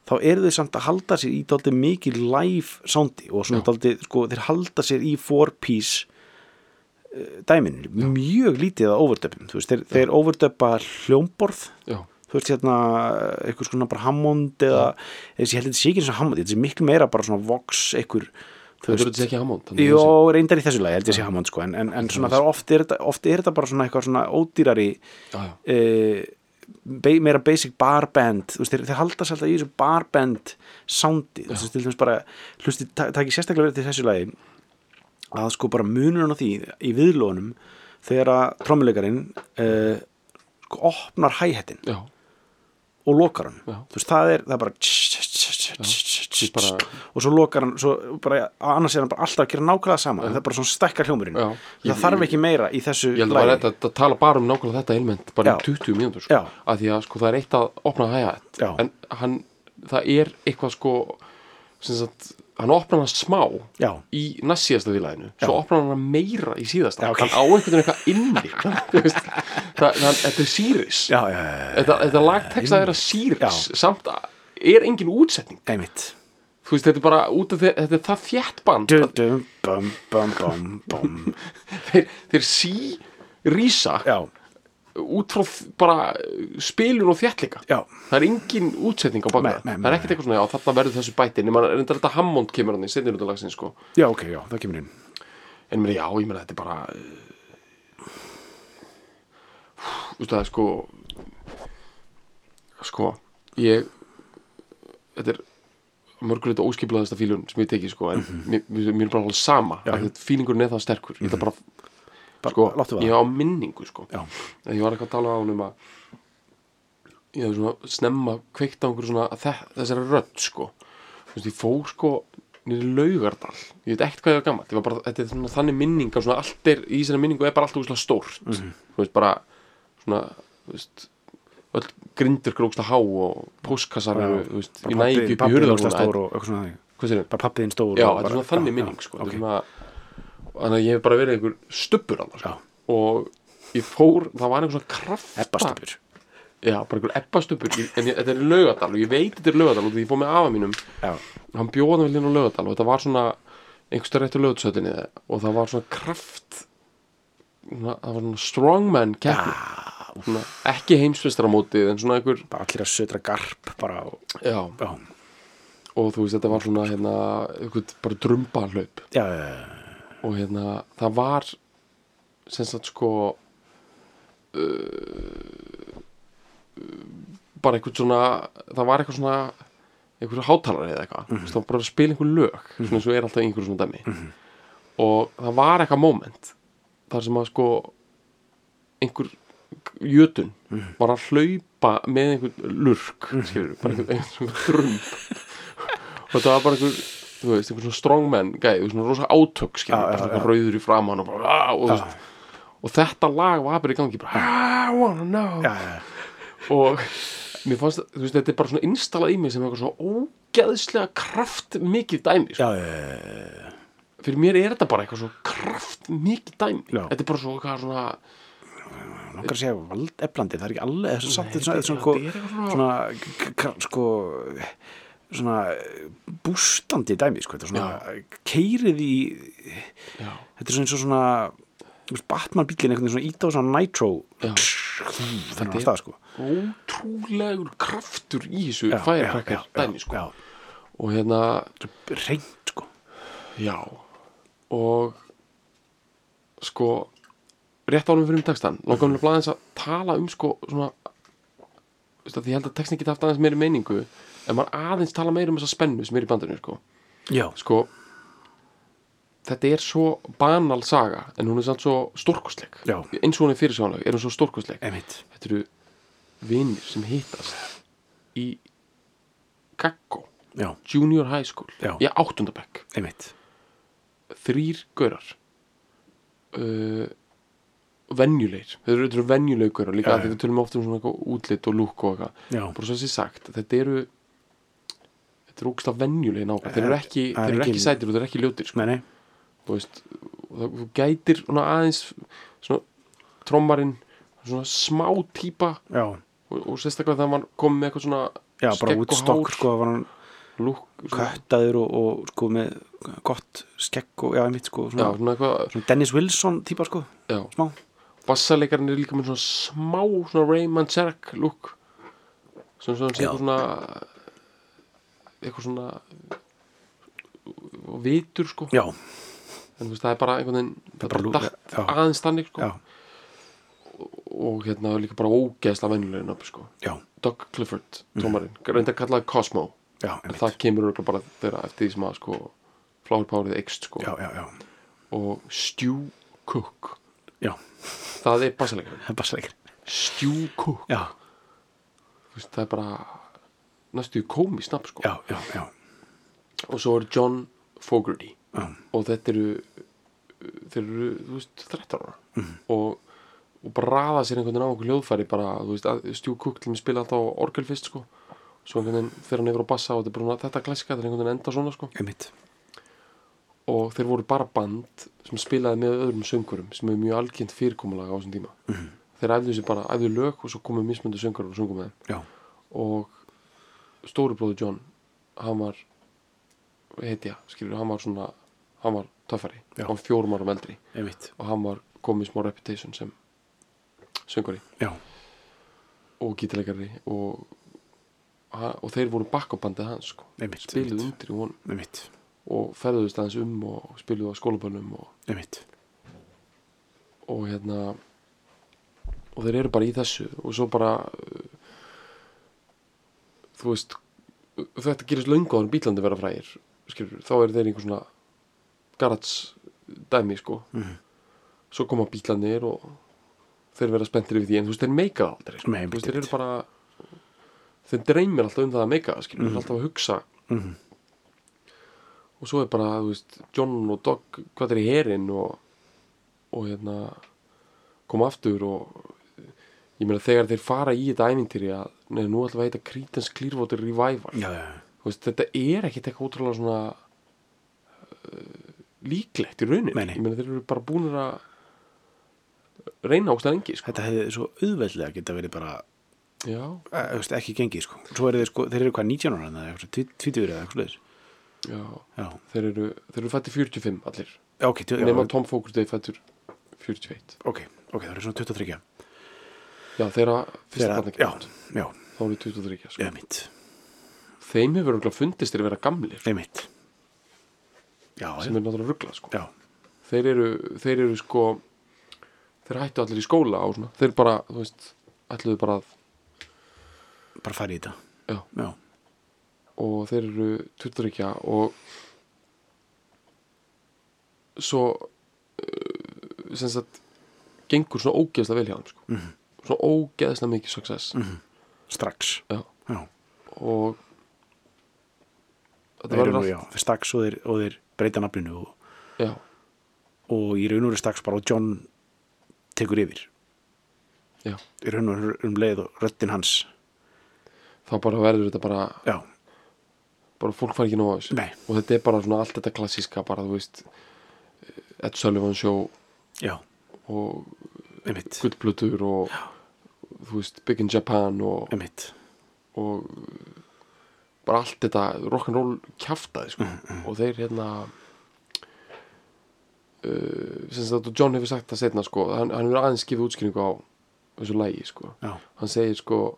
S2: þá eru þau samt að halda sér í daldið mikið live soundi og svona daldið, sko, þeir halda sér í four piece uh, dæminu, mjög lítið að overdöpum, þú veist, þeir, þeir overdöpa hljómborð
S1: já,
S2: þú veist hérna eitthvað svona bara Hammond eða þessi, ég held að þetta sé ekki eins og Hammond þetta sé miklu meira bara svona Vox eitthvað þú
S1: þetta er þetta ekki Hammond þannig að
S2: Jó,
S1: þessi-
S2: reyndar í þessu lagi, held ég sé Hammond sko, en, en, en svona það er oft, er, þetta- oft er þetta bara svona eitthvað svona ódýrari
S1: já, já,
S2: uh, be, meira basic barband þú veist, þeir, þeir halda sér alltaf í þessu barband soundi, þú veist, til þess bara hlusti, ta- takk ég sérstaklega verið til þessu lagi að sko bara munurinn á því í viðlónum þegar að trommuleikarinn uh, sko opnar hæ-hettin
S1: já,
S2: og lokar hann
S1: Já.
S2: þú veist, það er, það er bara, tss, tss, tss, tss, tss,
S1: bara-
S2: tss, og svo lokar hann svo bara, annars er hann bara alltaf að gera nákvæmlega sama en það er bara svona stækkar hljómurinn
S1: Já. Ég-
S2: það þarf ekki meira í þessu
S1: ég held að
S2: lagi.
S1: bara þetta að tala bara um nákvæmlega þetta element bara
S2: Já.
S1: í 20 mínútur, sko,
S2: Já.
S1: að því að sko það er eitt að opna hæja
S2: Já.
S1: en hann, það er eitthvað sko sem sagt hann opnar hann smá
S2: já,
S1: í næst síðasta félaginu
S2: Já.
S1: svo opnar hann hana meira í síðasta
S2: Já, ok.
S1: hann á einhvern veginn eitthvað inni Þú veist, það, það, þetta er Sirius
S2: já, já, já,
S1: þetta, þetta lagteksta er að Sirius samt að er engin útsetning
S2: einmitt
S1: þú veist þetta er bara út af því þetta er það þjætt band
S2: dum,
S1: að
S2: dum, bum, bum, bum, bum
S1: þeir, þeir sí rísa
S2: já,
S1: út frá þ- bara uh, spilun og þjættleika
S2: já,
S1: það er engin útsetning á baka
S2: Nei,
S1: það
S2: nei,
S1: það er ekkert eitthvað svona, já þarna verður þessu bæti nema reyndar þetta Hammond kemur hann í setnir út af lagsin sko.
S2: já, ok, já, það kemur inn
S1: en mér, já, ég meina þetta er bara uh, þú veist það er sko sko ég þetta er mörgulegt óskiplaðasta fílun sem ég teki sko en mér, mér mér er bara alveg sama
S2: Mhm. Já. Mhm.
S1: að þetta fílingurinn er það sterkur ég ætla bara,
S2: Bara
S1: sko,
S2: láttu vaða.
S1: ég á minningu sko
S2: já,
S1: En ég var eitthvað að tala á hann um að ég hefði svona snemma kveikt á einhverju svona að þe- þessari rödd sko þú veist ég fór sko niður í laugardal, ég veit ekkert hvað ég var gammalt ég var bara, þetta er svona þannig minning að svona allt er, í þessari minningu er bara allt úrslega stórt
S2: Mhm.
S1: þú veist bara svona þú veist öll grindur gróksla há og póskassar
S2: Já,
S1: eru, þú veist, ég
S2: bara
S1: næ ekki
S2: pappi,
S1: upp í
S2: pappi
S1: hurðar
S2: er stór og eitthvað svona þannig
S1: hvað sér
S2: bara pappiðin stór
S1: Já,
S2: og
S1: þetta er
S2: bara-
S1: svona þannig
S2: já,
S1: minning sko.
S2: já,
S1: okay.
S2: ok.
S1: svona, Þannig að ég hef bara verið einhver stubbur annars sko.
S2: Já.
S1: Og ég fór, það var einhver svona kraft
S2: Ebbastupur
S1: Já, bara einhver ebbastubbur Ég- En ég, þetta er í laugadal og ég veit þetta er í laugadal og því ég fór með afa mínum
S2: Já,
S1: Hann bjóðan vel inn á laugadal og þetta var svona einhverstað réttu laugatsötinni og það var svona kraft svona, það var svona strongman keppni svona, ekki heimsfestaramótið en svona einhver
S2: bara allir að södra garp bara og,
S1: já,
S2: já,
S1: og þú veist þetta var svona hérna, einhver bara drumbalaup
S2: já, já, já,
S1: og hérna það var sem sagt sko uh, uh, bara einhvern svona það var eitthvað svona einhverju hátalari eða
S2: Mhm.
S1: eitthvað mm -hmm. það var bara að spila einhver lög svona eins og er alltaf í einhverju svona dæmi
S2: Mhm.
S1: og það var eitthvað moment þar sem að sko einhver jötun
S2: Mhm.
S1: var að hlaupa með einhver lurk skilur, bara einhver, einhver svona drömb og þetta var bara einhver þú veist, einhver svona strongman gæði, svona rosa átök skilur,
S2: Já,
S1: bara
S2: já,
S1: svona
S2: já.
S1: rauður í framann og bara "Ah", og, þú
S2: Já.
S1: veist, og þetta lag var bara í gangi bara, "Ah, I wanna know
S2: já, já,
S1: og mér fannst, þú veist, þetta er bara svona instalað í mig sem eitthvað svo ógeðslega kraftmikið dæmi sko.
S2: já, já,
S1: fyrir mér er þetta bara eitthvað svo kraftmikið dæmi
S2: Já.
S1: þetta er bara svo eitthvað svona
S2: langar að segja valdeflandi, það er ekki alveg það er samt
S1: Nei,
S2: þetta svona,
S1: þetta
S2: svona,
S1: er-
S2: sko-
S1: þetta er eitthvað svona-
S2: svona k- k- sko svona bústandi dæmi, sko, þetta er svona keirið í,
S1: já,
S2: þetta er svona eins og svona þú veist, Batman bílinn einhvern veginn svona ít á svona nitro
S1: Já.
S2: þannig
S1: Þetta
S2: að
S1: er-
S2: stað, sko
S1: ótrúlegur kraftur í þessu
S2: Já, já, já,
S1: færakrakkar
S2: já,
S1: dæmi sko.
S2: já,
S1: og hérna
S2: þetta er reynd, sko
S1: Já og sko rétt ánum fyrir um textan langar mér bara aðeins að tala um sko svona veist að því ég held að textin geta haft aðeins meiri meiningu en maður aðeins tala meira um þessa spennu sem er í bandinu sko,
S2: já,
S1: sko þetta er svo banal saga en hún er samt svo stórkostleg
S2: Já.
S1: eins og hún er fyrirsjónleg er hún svo stórkostleg
S2: emitt,
S1: þetta eru vinnir sem hittast í Gaggo
S2: já,
S1: Junior High School
S2: Já.
S1: í áttundabæk
S2: emitt
S1: þrýr gaurar uh, venjulegir þeir eru- þetta eru venjulegir gaurar líka
S2: Já,
S1: af því
S2: já.
S1: við tölum oft um svona eitthvað útlit og lúk og eitthvað
S2: já,
S1: bara svo þessi sagt, þetta eru þetta eru ógst af venjulegir nákvæm þeir eru ekki,
S2: Það
S1: þeir
S2: er
S1: eru ekki
S2: engin-
S1: sætir og þeir eru ekki ljótir sko.
S2: nei, nei,
S1: þú veist, og það, þú gætir svona aðeins svona trommarinn svona smá típa
S2: já
S1: og, og sérstaklega þegar maður kom með eitthvað svona
S2: Já, bara
S1: skegg og
S2: Woodstock,
S1: hár,
S2: sko, var hann
S1: lúk, svona,
S2: köttaður og, og sko með gott skegg og, já, einmitt, sko,
S1: já,
S2: svona,
S1: svona eitthvað
S2: svona Dennis Wilson típa, sko,
S1: já,
S2: smá.
S1: bassalegarinn er líka með svona smá svona Ray Manzarek look sem svona,
S2: Já.
S1: eitthvað svona eitthvað svona og vitur sko
S2: Já,
S1: en þú veist, það er bara einhvern veginn það
S2: bara
S1: er
S2: lú-
S1: bara datt
S2: já.
S1: aðeins þannig sko
S2: já,
S1: og hérna líka bara ógeðsla venjulegin upp sko
S2: já,
S1: Doug Clifford, tómarinn, mm. reynda að kalla það Cosmo
S2: já,
S1: en
S2: Mhm. einmitt.
S1: það kemur örugglega bara þeirra eftir því sem að sko Flower Powerið eikst sko
S2: Já, já, já,
S1: og Stu Cook
S2: já,
S1: það er bassalegarinn,
S2: það er bara slegir.
S1: Stu Cook
S2: Já,
S1: þú veist, það er bara næstu komið snapp sko
S2: já, já, já,
S1: og svo er John Fogerty
S2: já,
S1: og þetta eru þeir eru, þú veist, 13 ára og, og bara raða sér einhvern veginn á einhver hljóðfæri bara, þú veist, að Stu Cook til að spila alltaf á orgelfist sko svo einhvern veginn fyrir hann yfir á bassa og þetta er bara svona, þetta er klassika, þetta er einhvern veginn enda svona sko.
S2: einmitt
S1: og þeir voru bara band sem spilaði með öðrum söngurum sem er mjög algjönd fyrirkomulega á þessum tíma -hmm. þeir æfðu sér bara, æfðu lög og svo komu mismundu söngur og sungum með þeim
S2: já,
S1: og stóri bróður John hann var heitja, skilur, hann var svona hann var töffari,
S2: Já.
S1: hann var fjórum árum eldri
S2: einmitt
S1: og hann var komið smá reputation sem söngari
S2: já,
S1: og gítilegari og, ha- og þeir voru bakkabandið hans sko.
S2: Einmitt,
S1: spiluðu
S2: einmitt.
S1: undir í honum
S2: einmitt,
S1: og ferðuðust aðeins um og spiluðu á skólabönnum og,
S2: einmitt
S1: og hérna og þeir eru bara í þessu og svo bara uh, þú veist uh, þetta gerist löngu áður en bílandi vera frægir skilur, þá eru þeir einhver svona garats dæmi sko
S2: Mhm.
S1: svo koma bílandir og þeir vera spenntir yfir því en þú veist þeir meika það aldrei sko.
S2: Nei,
S1: Þú veist,
S2: einmitt,
S1: þeir eru bara þeir dreymir alltaf um það að meika það skilur, mm -hmm. alltaf að hugsa
S2: Mhm.
S1: og svo er bara, þú veist, John og Doc hvað er í herinn og og hérna koma aftur og ég meina þegar þeir fara í þetta ævintýri að neða nú alltaf að heita Creedence Clearwater Revival
S2: já, já, já,
S1: Þú veist, þetta er ekkit eitthvað ótrúlega svona uh, líklegt í raunin
S2: Nei, nei.
S1: ég meina þeir eru bara búinir að reyna ókslega lengi sko.
S2: þetta hefði svo auðveldlega geta verið bara
S1: já,
S2: eh, þú veist, ekki gengið sko svo eru þeir sko, þeir eru hvað 19 ára eða eitthvað, 20 eða eitthvað svoleiðis.
S1: já
S2: já,
S1: þeir eru, þeir eru fættir 45 allir
S2: Já, ok, tjó, já,
S1: nema Tom Fókurt þeir fættir 41
S2: ok, ok, það eru svona 23
S1: já, þeirra fyrsta
S2: Þegar- já,
S1: barnakjöld
S2: já,
S1: þá eru 23 sko.
S2: einmitt
S1: þeim hefur örugglega fundist þeir vera gamlir
S2: einmitt já,
S1: sem er náttúrulega rugglað sko.
S2: já,
S1: þeir eru, þeir eru sko þeir hættu allir í skóla á svona þeir bara, þú veist, ætluðu bara að
S2: bara fara í þetta
S1: Já.
S2: já,
S1: og þeir eru 23 og svo uh, sem sagt gengur svona ógeðslega vel hjá þeim sko.
S2: Mhm.
S1: -hmm. svona ógeðslega mikið success -hmm.
S2: strax
S1: já,
S2: já,
S1: og þetta
S2: þeir eru
S1: verður
S2: nú,
S1: allt
S2: já, þeir strax og þeir, og þeir breyta nafninu og,
S1: já,
S2: og í raun og veru strax bara og John tekur yfir
S1: já,
S2: í raun og veru um leið og röddin hans
S1: þá bara verður þetta bara,
S2: já,
S1: bara fólk fær ekki nóg á þessu
S2: Nei.
S1: og þetta er bara svona allt þetta klassíska bara þú veist eh, Ed Sullivan show
S2: já,
S1: og
S2: einmitt
S1: gullblötur og þú veist Big in Japan og
S2: einmitt,
S1: og bara allt þetta rock'n'roll kjaftaði sko. og þeir hérna uh, sem sagt og John hefur sagt það setna sko, hann, hann hefur aðeins gefið útskýringu á þessu lægi sko.
S2: já,
S1: hann segir sko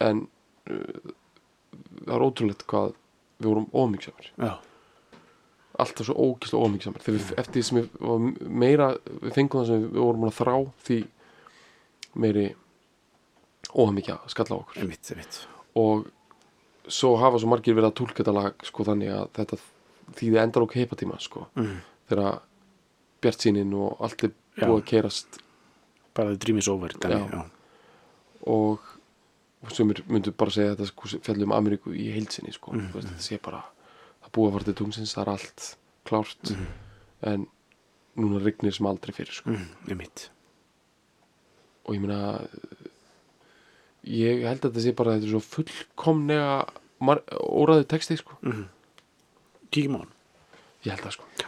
S1: en uh, það er ótrúlegt hvað við vorum ómyggsamir
S2: já,
S1: alltaf svo ógislega ómyggsamir þegar við eftir því sem við var meira við fengum það sem við vorum að þrá því meiri ómyggja skalla á okkur
S2: einmitt, einmitt
S1: og svo hafa svo margir verið að tólka þetta lag sko þannig að þetta þýði endar okkur heipatíma sko
S2: Mhm.
S1: þegar bjartsýnin og allt er
S2: Já.
S1: búið að kerast
S2: bara the dream is over dæmi,
S1: Já.
S2: já.
S1: og, og sumir myndu bara segja að þetta sko fjallum Ameríku í heilsinni sko mm veist, þetta sé bara það er búið að fara til tungsins, það er allt klárt en núna rignir sem aldrei fyrir sko
S2: Mm, einmitt,
S1: og ég meina eh, ég held að þetta sé bara að þetta er svo fullkomnega mar- óræður texti sko
S2: kíkjum á hann
S1: Ég held það sko
S2: Já.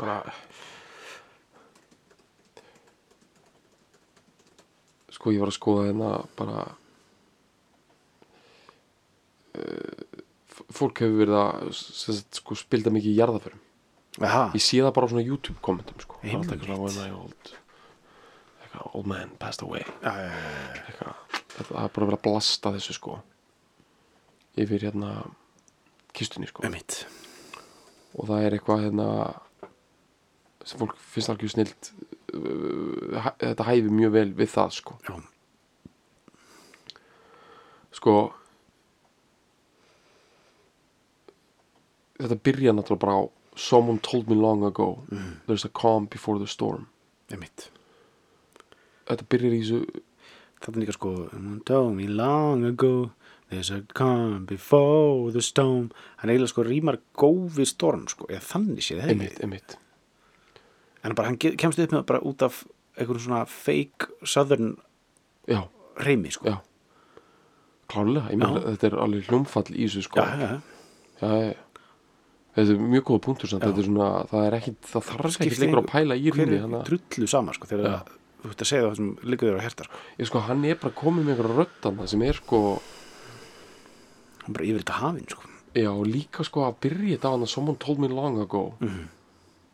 S1: Bara Sko ég var að skoða hérna bara Eh, f- Fólk hefur verið að sem sagt, sko, spilda mikið í jarðaförum
S2: Aha.
S1: Ég sé það bara á svona YouTube kommentum sko. Það er alltaf
S2: Einmitt.
S1: eitthvað svona, "When I old eitthvað, Old man passed away
S2: Já, já, já, já.
S1: eitthvað, það það er bara verið að blasta þessu sko yfir hérna kistunni sko
S2: einmitt
S1: og það er eitthvað hérna sem fólk finnst algjör snilt uh, þetta hæfi mjög vel við það sko
S2: já,
S1: sko þetta byrja náttúrulega bara á someone told me long ago there's a calm before the storm
S2: einmitt
S1: þetta byrjar í þessu
S2: Þarna líka sko Told me long ago There's a calm before the storm Hann eiginlega sko rýmar gófi storm sko, eða þannig sé það ekki
S1: einmitt, einmitt
S2: En bara hann ge- kemst upp með það bara út af einhvern svona fake southern
S1: já,
S2: reymi sko.
S1: já klálega, ég meina þetta er alveg hljómfall í þessu sko
S2: já, já, já.
S1: já, já, já. Þetta er mjög góða punktur samt, þetta er svona, það er ekkit, það þarf
S2: Skiptir
S1: ekkit lengur að
S2: engu-
S1: pæla í
S2: hver
S1: rúni,
S2: er
S1: þannig
S2: drullu sama sko, þegar það- þú ert að segja það sem liggur þér á herta sko.
S1: að, ég sko, hann er bara komið með einhverja röddana sem er sko,
S2: hann bara yfir þetta hafin sko.
S1: já, líka sko að byrja þetta á hann að someone told me long ago,
S2: Mhm.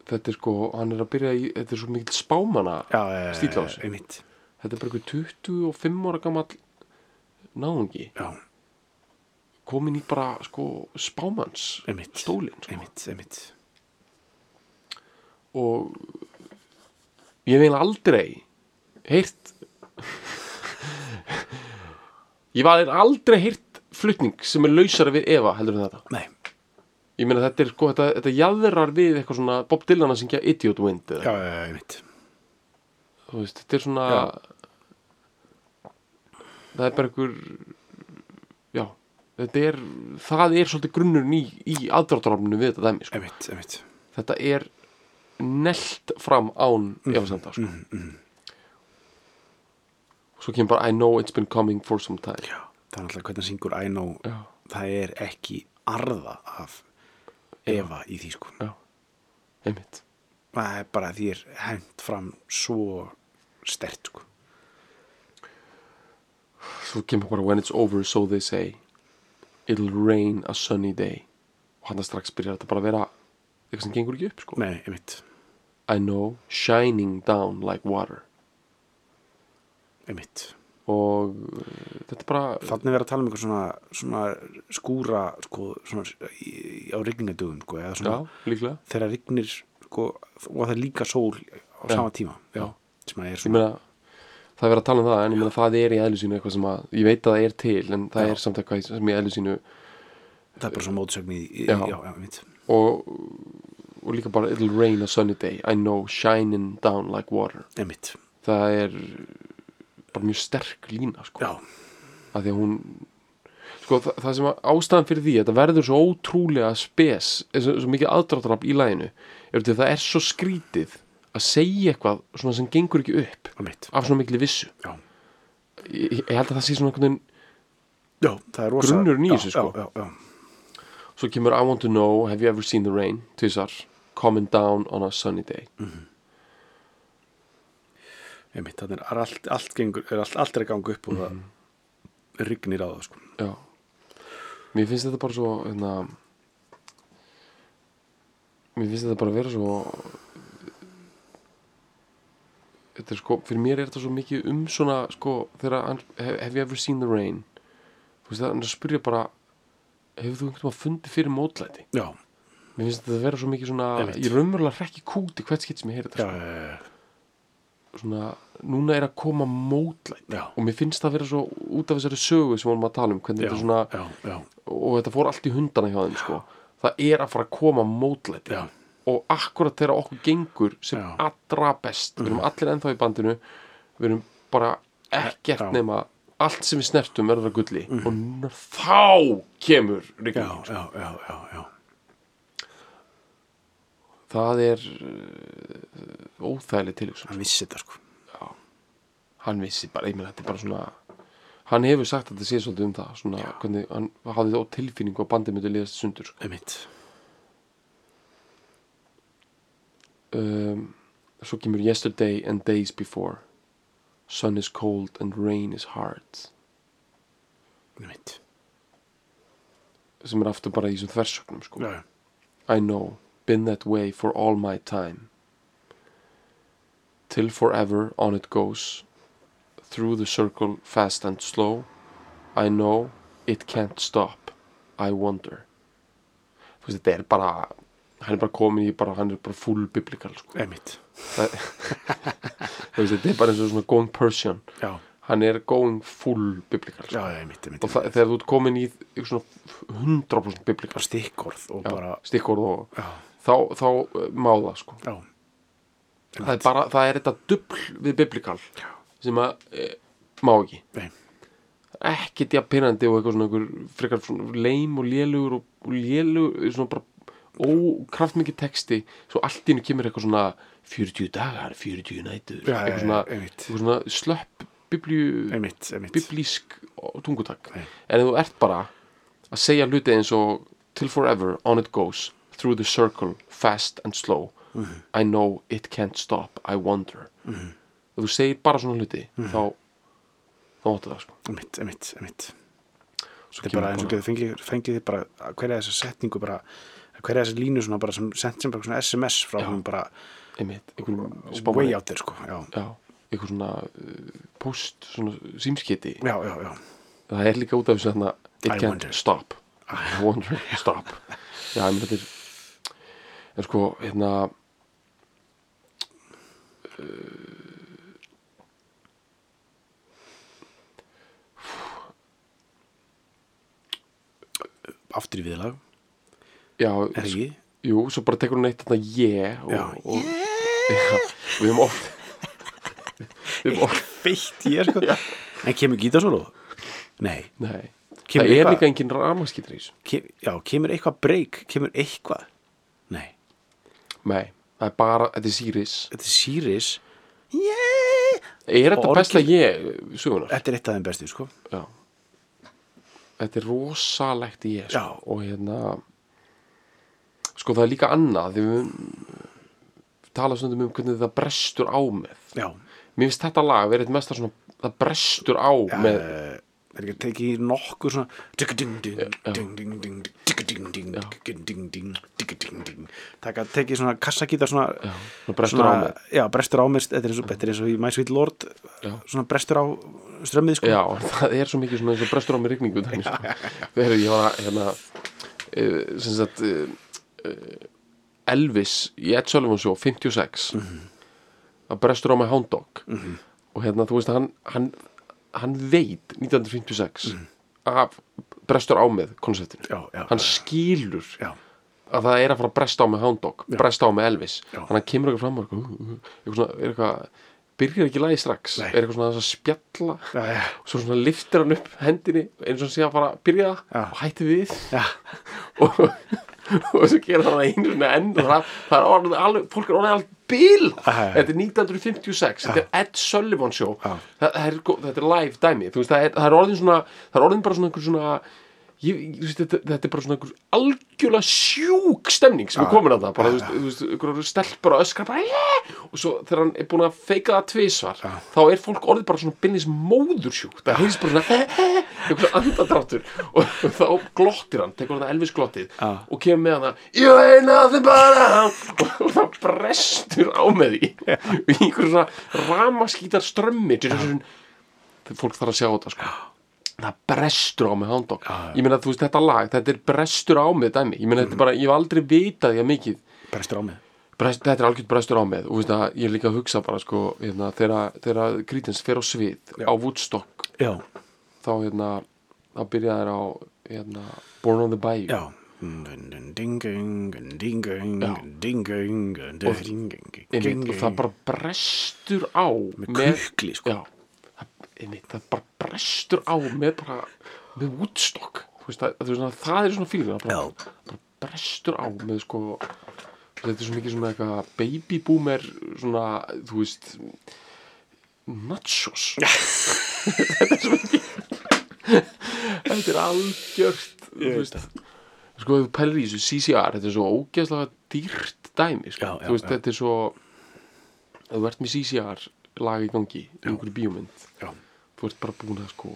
S1: þetta er sko, hann er að byrja í, þetta er svo mikil spámana,
S2: já, já, já,
S1: Stíll á þessu.
S2: einmitt
S1: þetta er bara einhver 25 ára gamall náungi,
S2: já,
S1: komin í bara sko spámans
S2: einmitt
S1: stólinn, sko.
S2: einmitt, einmitt
S1: og ég hef eiginlega aldrei heyrt ég var aldrei heyrt flutning sem er lausara við Eva heldur en þetta
S2: nei,
S1: ég meina þetta er sko, þetta, þetta jaðrar við eitthvað svona Bob Dylan að syngja Idiot Wind
S2: já,
S1: eða,
S2: já, já, einmitt
S1: þú veist, þetta er svona það er bara einhver já, þetta er það er svolítið grunnurinn í, í aðdráttarofninu við þetta dæmi sko.
S2: einmitt, einmitt
S1: þetta er nelt fram án mm. efasemda sko. svo kemur bara I know it's been coming for some time
S2: já, það er alltaf hvernig hann syngur I know
S1: já,
S2: það er ekki arða af Eva í því sko
S1: já, einmitt
S2: það er bara því er hent fram svo stert sko
S1: svo kemur bara when it's over so they say it'll rain a sunny day og hann að strax byrjar þetta bara að vera eitthvað sem gengur ekki upp sko
S2: nei, einmitt,
S1: I know shining down like water
S2: einmitt
S1: og uh, þetta er bara
S2: Þannig verður að tala um eitthvað svona, svona skúra sko, svona, í, á rigningadugum sko, eða svona
S1: já, líklega
S2: þegar rignir sko, og það er líka sól á
S1: Já.
S2: sama tíma
S1: Já.
S2: sem að er
S1: ég
S2: svona
S1: meina það er verið að tala um það en ég meina það er í eðlu sínu eitthvað sem að ég veit að það er til en það
S2: Já.
S1: er samt eitthvað sem í eðlu sínu
S2: það er bara svona mótsögn í, í
S1: Já.
S2: já, já, einmitt
S1: og, og líka bara it'll rain a sunny day I know shining down like water
S2: einmitt,
S1: það er bara mjög sterk lína sko
S2: já,
S1: að því að hún sko það, það sem að ástæðan fyrir því að þetta verður svo ótrúlega spes eh, svo, svo mikið aðdráttarafl í læginu er því að það er svo skrítið að segja eitthvað svona sem gengur ekki upp
S2: einmitt
S1: af svona mikli vissu
S2: já.
S1: ég, ég held að það sé svona einhvern veginn
S2: já, það er rosa
S1: Grunnurinn í
S2: já,
S1: þessu, sko.
S2: já, já,
S1: Svo kemur I want to know, have you ever seen the rain? Tvísar, coming down on a sunny day
S2: já, einmitt þannig er allt, allt, gengur, er allt, allt er að ganga upp og
S1: Mhm.
S2: það rignir á það sko.
S1: Já Mér finnst þetta bara svo hérna, Mér finnst þetta bara vera svo Þetta er sko Fyrir mér er þetta svo mikið um svona sko, þegar hann, have have you ever seen the rain? Þú veist það, hann er að spyrja bara Hefur þú einhvern veginn fundið fyrir mótlæti?
S2: já,
S1: Mér finnst þetta vera svo mikið svona
S2: Einmitt.
S1: Ég raunverulega rekki kúti hvert skitt sem ég heyri
S2: já,
S1: þetta sko.
S2: já, já,
S1: svona, Núna er að koma mótlæti
S2: já,
S1: og mér finnst það vera svo út af þessari sögu sem vorum að tala um hvernig
S2: já,
S1: þetta er svona,
S2: já, já,
S1: og þetta fór allt í hundana hjá þeim sko. það er að fara að koma mótlæti
S2: Já.
S1: og akkurat þegar okkur gengur sem
S2: Já. Mm.
S1: allra best við erum allir ennþá í bandinu við erum bara ekkert
S2: Já. Mm.
S1: nema allt sem við snertum verður að gulli og n- þá kemur
S2: já,
S1: rigningin sko.
S2: já, já, já, já.
S1: það er uh, óþægileg til
S2: hann vissi þetta sko
S1: hann vissi bara, ég meina þetta er bara svona hann hefur sagt að þetta sé svolítið um það svona, hvernig hann hafði þetta á tilfinningu að bandið myndi liðast í sundur sko.
S2: einmitt,
S1: um, svo kemur yesterday and days before sun is cold and rain is hard
S2: einmitt
S1: sem er aftur bara í þessum þversögnum sko.
S2: já, já,
S1: I know, been that way for all my time till forever on it goes through the circle fast and slow I know, it can't stop I wonder þú veist þetta er bara hann er bara komin í bara, hann er bara full biblical sko.
S2: einmitt
S1: Það- þú veist þetta er bara eins og svona going Persian
S2: já,
S1: hann er going full biblical
S2: já,
S1: sko.
S2: já, einmitt, einmitt
S1: og það, þegar þú ert komin í eitthvað svona 100% biblical
S2: bara stikkorð og bara
S1: stikkorð og
S2: já,
S1: þá, þá eh, má það sko
S2: já,
S1: það er, bara, það er þetta dubl við biblical sem að e, má ekki
S2: nei,
S1: ekkert jafn pyrrandi og eitthvað svona einhver, frekar svona leim og lélugur og, og lélugur svona bara ókraftmikið texti svo allt í hennu kemur eitthvað svona 40 dagar, 40 nætur
S2: Já, já,
S1: eitthvað svona,
S2: já, einmitt.
S1: eitthvað svona slöpp biblíu,
S2: einmitt, einmitt
S1: biblísk tungutak
S2: Nei.
S1: en þú ert bara að segja hluti eins og till forever, on it goes through the circle, fast and slow
S2: Mhm.
S1: I know it can't stop I wonder mm -hmm. og þú segir bara svona hluti
S2: Mhm.
S1: þá, þá áttu það sko
S2: einmitt, einmitt, einmitt
S1: Svo
S2: þetta er
S1: kemur
S2: bara eins og getur fengið, fengið þið bara að hverja þessa setningu bara að hverja þessa línu svona bara sem sent sem bara svona SMS frá
S1: Já.
S2: hún bara
S1: einmitt, einhverjum
S2: way
S1: spámanni
S2: out there sko já,
S1: já, eitthvað svona uh, post, svona símskiti
S2: já, já, já.
S1: það er líka út af þessu þarna it
S2: I
S1: can't
S2: wonder.
S1: stop I wonder, stop já, en þetta er en sko, hérna uh,
S2: aftur í viðlag,
S1: já,
S2: er sko
S1: s-
S2: ekki
S1: jú, svo bara tekur hún eitt þarna yeah og,
S2: Já,
S1: og, yeah. og við höfum oft við höfum oft
S2: feitt ég sko en kemur gítarsólu? nei,
S1: nei, það er
S2: Kemur eitthvað-
S1: líka engin ramaskýtur í þessu
S2: Kem, já, kemur eitthvað break kemur eitthvað nei,
S1: nei, það er bara, þetta er Sirius
S2: þetta er Sirius yeah.
S1: er þetta
S2: Og
S1: besta yeah sögunar?
S2: þetta er eitt af þeim bestu sko
S1: Já Þetta er rosalegt í ég
S2: Já.
S1: sko. og hérna sko það er líka annað þegar við tala stundum um hvernig það brestur á með
S2: já,
S1: Mér finnst þetta lag verið eitt mestar svona það brestur á með
S2: Eh, er ekki að teki í nokkur svona taka að teki svona kassakítar svona,
S1: það brestur á með
S2: já, brestur á mér þetta er eins og, þetta er eins og í My Sweet Lord
S1: Já.
S2: svona brestur á strömmið sko
S1: Já, það er svo mikið svona eins og brestur á með rigningu þannig sko. Þegar ég var að hérna uh, sem sagt uh, Elvis í Ed Sullivan Show 56
S2: Mhm.
S1: það brestur á með Hound Dog og hérna þú veist að hann hann, hann veit 1956 af brestur á með konceptinu
S2: Mhm. já, já,
S1: hann skilur
S2: já,
S1: að það er að fara að bresta á með Hound Dog bresta á með Elvis
S2: Já.
S1: þannig að hann kemur eitthvað fram og eitthvað, uh, uh, eitthvað, svona- er eitthvað byrjar ekki lagi strax
S2: Nei.
S1: er eitthvað svona aðeins að spjalla
S2: já, já,
S1: svo svona liftir hann upp hendinni eins og hann sé að fara að byrja það
S2: Já.
S1: og hætti við
S2: já,
S1: og, og svo gera hann það einu svona enn og það, það er orðið alveg, fólk er orðið alveg bíl
S2: Já, já, já.
S1: þetta er 1956, þetta er Ed Sullivan show
S2: Já.
S1: það, það er, gó- þetta er live dæmi þú veist, það, er, það er orðin svona það er orðin bara svona einhver svona Ég, ég, veist, þetta, þetta er bara svona einhver algjörlega sjúk stemning sem er komin að það bara, þú veist, þú veist, einhverjar stelpur að öskra bara, yeah! og svo þegar hann er búin að feika það tvisvar, þá er fólk orðið bara svona bynnis móðursjúk, það heyrðis bara svona einhverja andadráttur og þá glottir hann, tekur hann það Elvis glottið
S2: Já.
S1: og kemur með hann að you ain't nothing but a hound og, og það brestur á með því í einhverju svona ramaskítar strömmi þegar fólk þarf að sjá þetta sko það brestur á mig Hound Dog
S2: Já, Mm. já.
S1: ég meina þú veist þetta lag, þetta er brestur á mig dæmi, ég meina þetta er bara, ég hef aldrei vitað ég mikið,
S2: brestur á mig
S1: brest, þetta er algjört brestur á mig og veist að ég er líka að hugsa bara sko hérna, þegar þegar Creedence fer á svið á Woodstock,
S2: já,
S1: þá hérna þá byrja þær á hérna, Born on the Bayou
S2: já og
S1: einmitt, og það bara brestur á
S2: með kukli sko
S1: já, það, einmitt, það bara brestur á með bara, með Woodstock Þú veist, það, það, það, það er svona fílina bara,
S2: Já.
S1: bara brestur á með sko þetta er svo mikið svona eitthvað baby boomer svona, þú veist nachos þetta er svo mikið þetta er algjört þú
S2: Ég veit
S1: veist sko ef þú pælir í þessu CCR þetta er svo ógeðslega dýrt dæmi sko.
S2: Já, já,
S1: þú veist
S2: já.
S1: þetta er svo ef þú ert með CCR lag í gangi í einhverju bíómynd
S2: já,
S1: þú ert bara búin að sko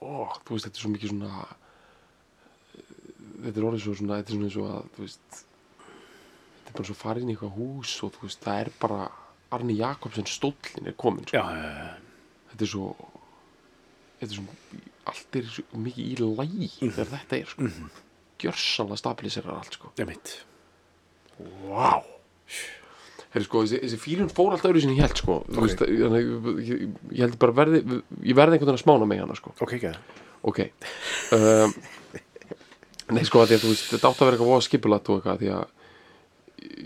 S1: ó, þú veist, þetta er svo mikið svona eh, þetta er orðið svo svona þetta er svona eins og að, þú veist þetta er bara svo farin í eitthvað hús og þú veist, það er bara Arni Jakobsen stóllin er komin sko.
S2: já, já,
S1: þetta er svo þetta er svo, allt er svo mikið í lægi
S2: Mhm.
S1: þegar þetta er sko. mm -hmm. gjörsanlega stabiliserar allt sko.
S2: já, mitt
S1: Vá Herri sko, þessi, þessi fílun fór alltaf öðru sinni held sko Þú
S2: Ok.
S1: veist, þannig, að ég, ég- ég held bara verði ég verði einhvern veginn að smána mig hana sko
S2: ok, ekki
S1: ok um, nei sko að því að þú veist þetta átt að vera eitthvað voða skipulat og eitthvað því að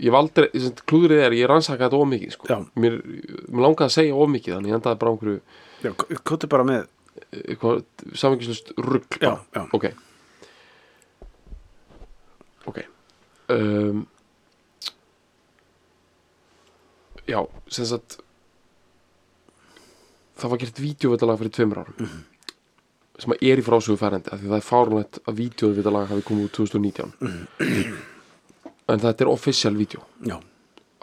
S1: ég valdur, klúðrið er ég rannsaka þetta of mikið sko
S2: Já.
S1: mér, mér langaði að segja of mikið þannig ég endaði bara á einhverju
S2: já, kóti bara með
S1: eitthvað samingislust rugl
S2: Já,
S1: bara.
S2: já.
S1: ok ok um, já, sem sagt það var gert vídeovitalag fyrir tveimur árum sem að er í frásögu færandi af því það er fárunlegt að vídeovitalag hafi komið út 2019 en þetta er official vídeo
S2: já,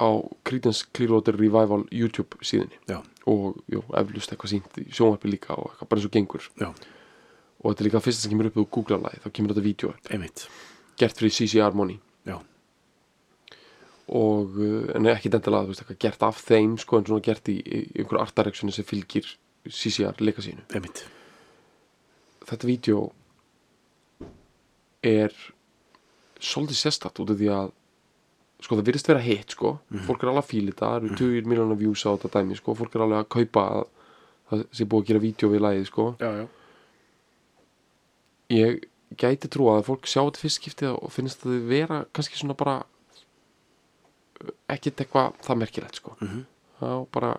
S1: á Creedence Clearwater Revival YouTube síðinni
S2: já,
S1: og jú, eflust eitthvað sínt í sjónvarpi líka og eitthvað bara eins og gengur
S2: já,
S1: og þetta er líka fyrst sem kemur upp og googla lagi, þá kemur þetta vídeo upp
S2: einmitt
S1: gert fyrir CCR Money
S2: já,
S1: og uh, en ekki dendilega þú veist eitthvað gert af þeim sko en svona gert í, í einhverju artareksjunni sem fylgir CCR leika sínu
S2: einmitt
S1: þetta vídeo er svolítið sérstætt út af því að sko það virðist vera hitt sko fólk er alveg að fíla þetta, það eru 20 miljonar views á þetta dæmi sko, fólk er alveg að kaupa að það sé búið að gera vídeo við lagið sko
S2: já, já,
S1: ég gæti trúa að fólk sjá þetta fyrst skiptið og finnst það vera kannski svona bara uh, ekkert eitthvað það merkilegt sko
S2: Mhm.
S1: þá bara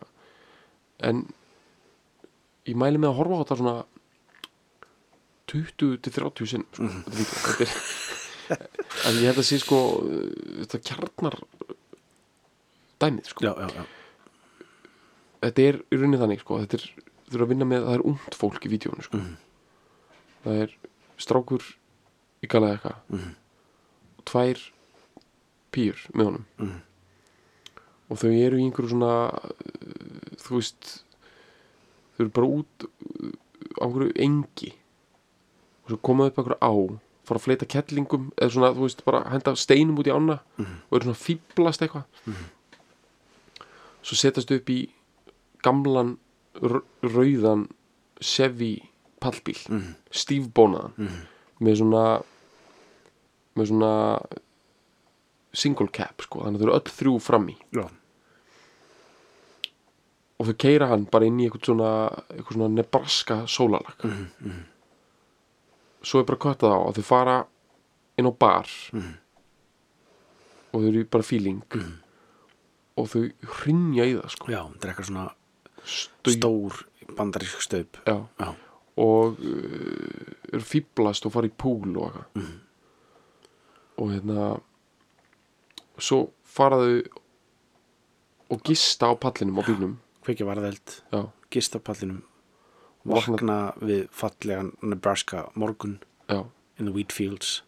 S1: en ég mæli með að horfa á þetta svona 20 til 30 sinn sko, þetta vídeo þetta er, en ég held að sé sko uh, þetta kjarnar uh, dæmið sko
S2: já, já, já.
S1: þetta er í rauninni þannig sko, þetta er, þurfa að vinna með það er ungt fólk í vídjónu sko. það er strákur í galaði eitthvað og tvær pýr með honum
S2: Mhm.
S1: og þau eru í einhverju svona uh, þú veist þau eru bara út uh, á einhverju engi og svo koma upp einhverju á fara að fleita kettlingum eða svona, þú veist, bara henda steinum út í ána og eru svona að fýblast eitthvað svo setast upp í gamlan r- rauðan Chevy pallbíl
S2: Mhm.
S1: stífbónaðan með svona með svona single cap sko, þannig að þau eru öll þrjú fram í
S2: já,
S1: og þau keira hann bara inn í eitthvað svona, eitthvað svona Nebraska sólalag
S2: Mhm,
S1: svo er bara köttað á að þau fara inn á bar
S2: Mhm.
S1: og þau eru í bara feeling og þau hrinja í það sko
S2: já, drekkar svona
S1: Stau-
S2: stór bandarísk staup
S1: já,
S2: já,
S1: og uh, eru fýblast og fara í púl og eitthvað
S2: Mhm.
S1: og hérna svo faraðu og gista á pallinum á bílnum
S2: kveikja varðeld
S1: já,
S2: gista á pallinum
S1: Vakna-
S2: vakna við fallegan Nebraska morgun
S1: já.
S2: in the wheat fields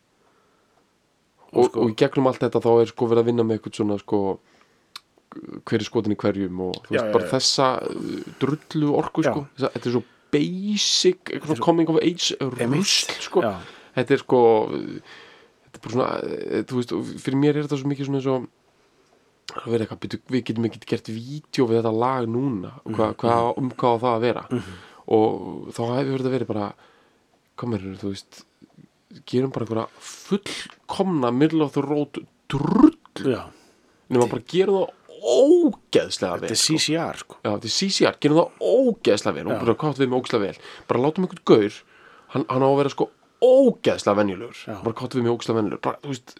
S1: Og,
S2: sko-
S1: og í gegnum allt þetta þá er sko verið að vinna með eitthvað svona sko hver er skotin í hverjum og þú
S2: Já,
S1: veist,
S2: já,
S1: bara
S2: já.
S1: þessa uh, drullu orku
S2: Já.
S1: sko Þessa- þetta er svo basic eitthvað svona coming of age rusl sko
S2: já,
S1: þetta er sko þetta er bara svona, eh, þú veist og fyrir mér er þetta svo mikið svona eins og það verið eitthvað, "Bíddu, við getum ekki gert vídeo við þetta lag núna
S2: Mhm,
S1: hva, hva, um hvað á það að vera og þá hefur þetta verið bara komur, þú veist gerum bara einhverja fullkomna middle of the road drull
S2: já,
S1: nema bara gerum það ógeðslega vel
S2: þetta er
S1: sko.
S2: CCR sko
S1: Já, þetta er CCR, gerum það ógeðslega vel og bara hvað áttu við með ógeðslega vel bara látum einhvern gaur, hann, hann á að vera sko ógeðslega venjulegur
S2: Já.
S1: bara hvað áttu við með ógeðslega venjulegur bara, þú veist,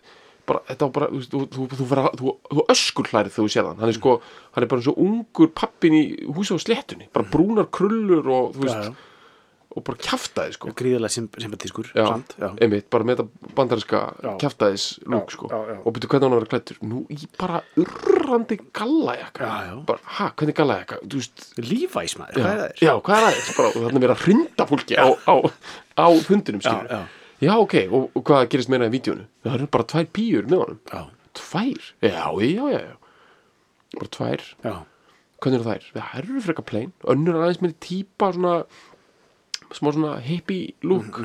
S1: bara, þetta á bara, þú, veist, þú, þú, þú, vera, þú, þú öskur hlærið þegar þú sér hann hann er sko, hann er bara eins og ungur pappin í húsi á sléttunni, bara brúnar krullur og þú
S2: Mhm. já,
S1: veist,
S2: já.
S1: og bara kjaftaði sko,
S2: gríðarlega symp sympatískur
S1: Já.
S2: samt, já.
S1: einmitt, bara með þetta bandariska
S2: Já.
S1: kjaftaðis lúk
S2: Já,
S1: sko
S2: já, já.
S1: og byrju hvernig hann var að vera klættur nú í bara urrandi gallajakka
S2: Já, já.
S1: bara, ha, hvernig gallajakka, þú veist
S2: Levi's maður,
S1: já,
S2: hvað er það er?
S1: Já, hvað er aðeins? Bara, og þannig að vera að hrinda fólki á, á, á fundinum, skilur.
S2: Já, já.
S1: ok, og, og hvað gerist meira í vídjónu? Það eru bara tvær pýjur með honum.
S2: Já,
S1: Tvær? Já, já, já, já. Bara tvær.
S2: já,
S1: Hvernig eru þær? Það eru frekar plain. Önnur er aðeins meiri típa, svona, smá svona hippie
S2: Mm,
S1: look.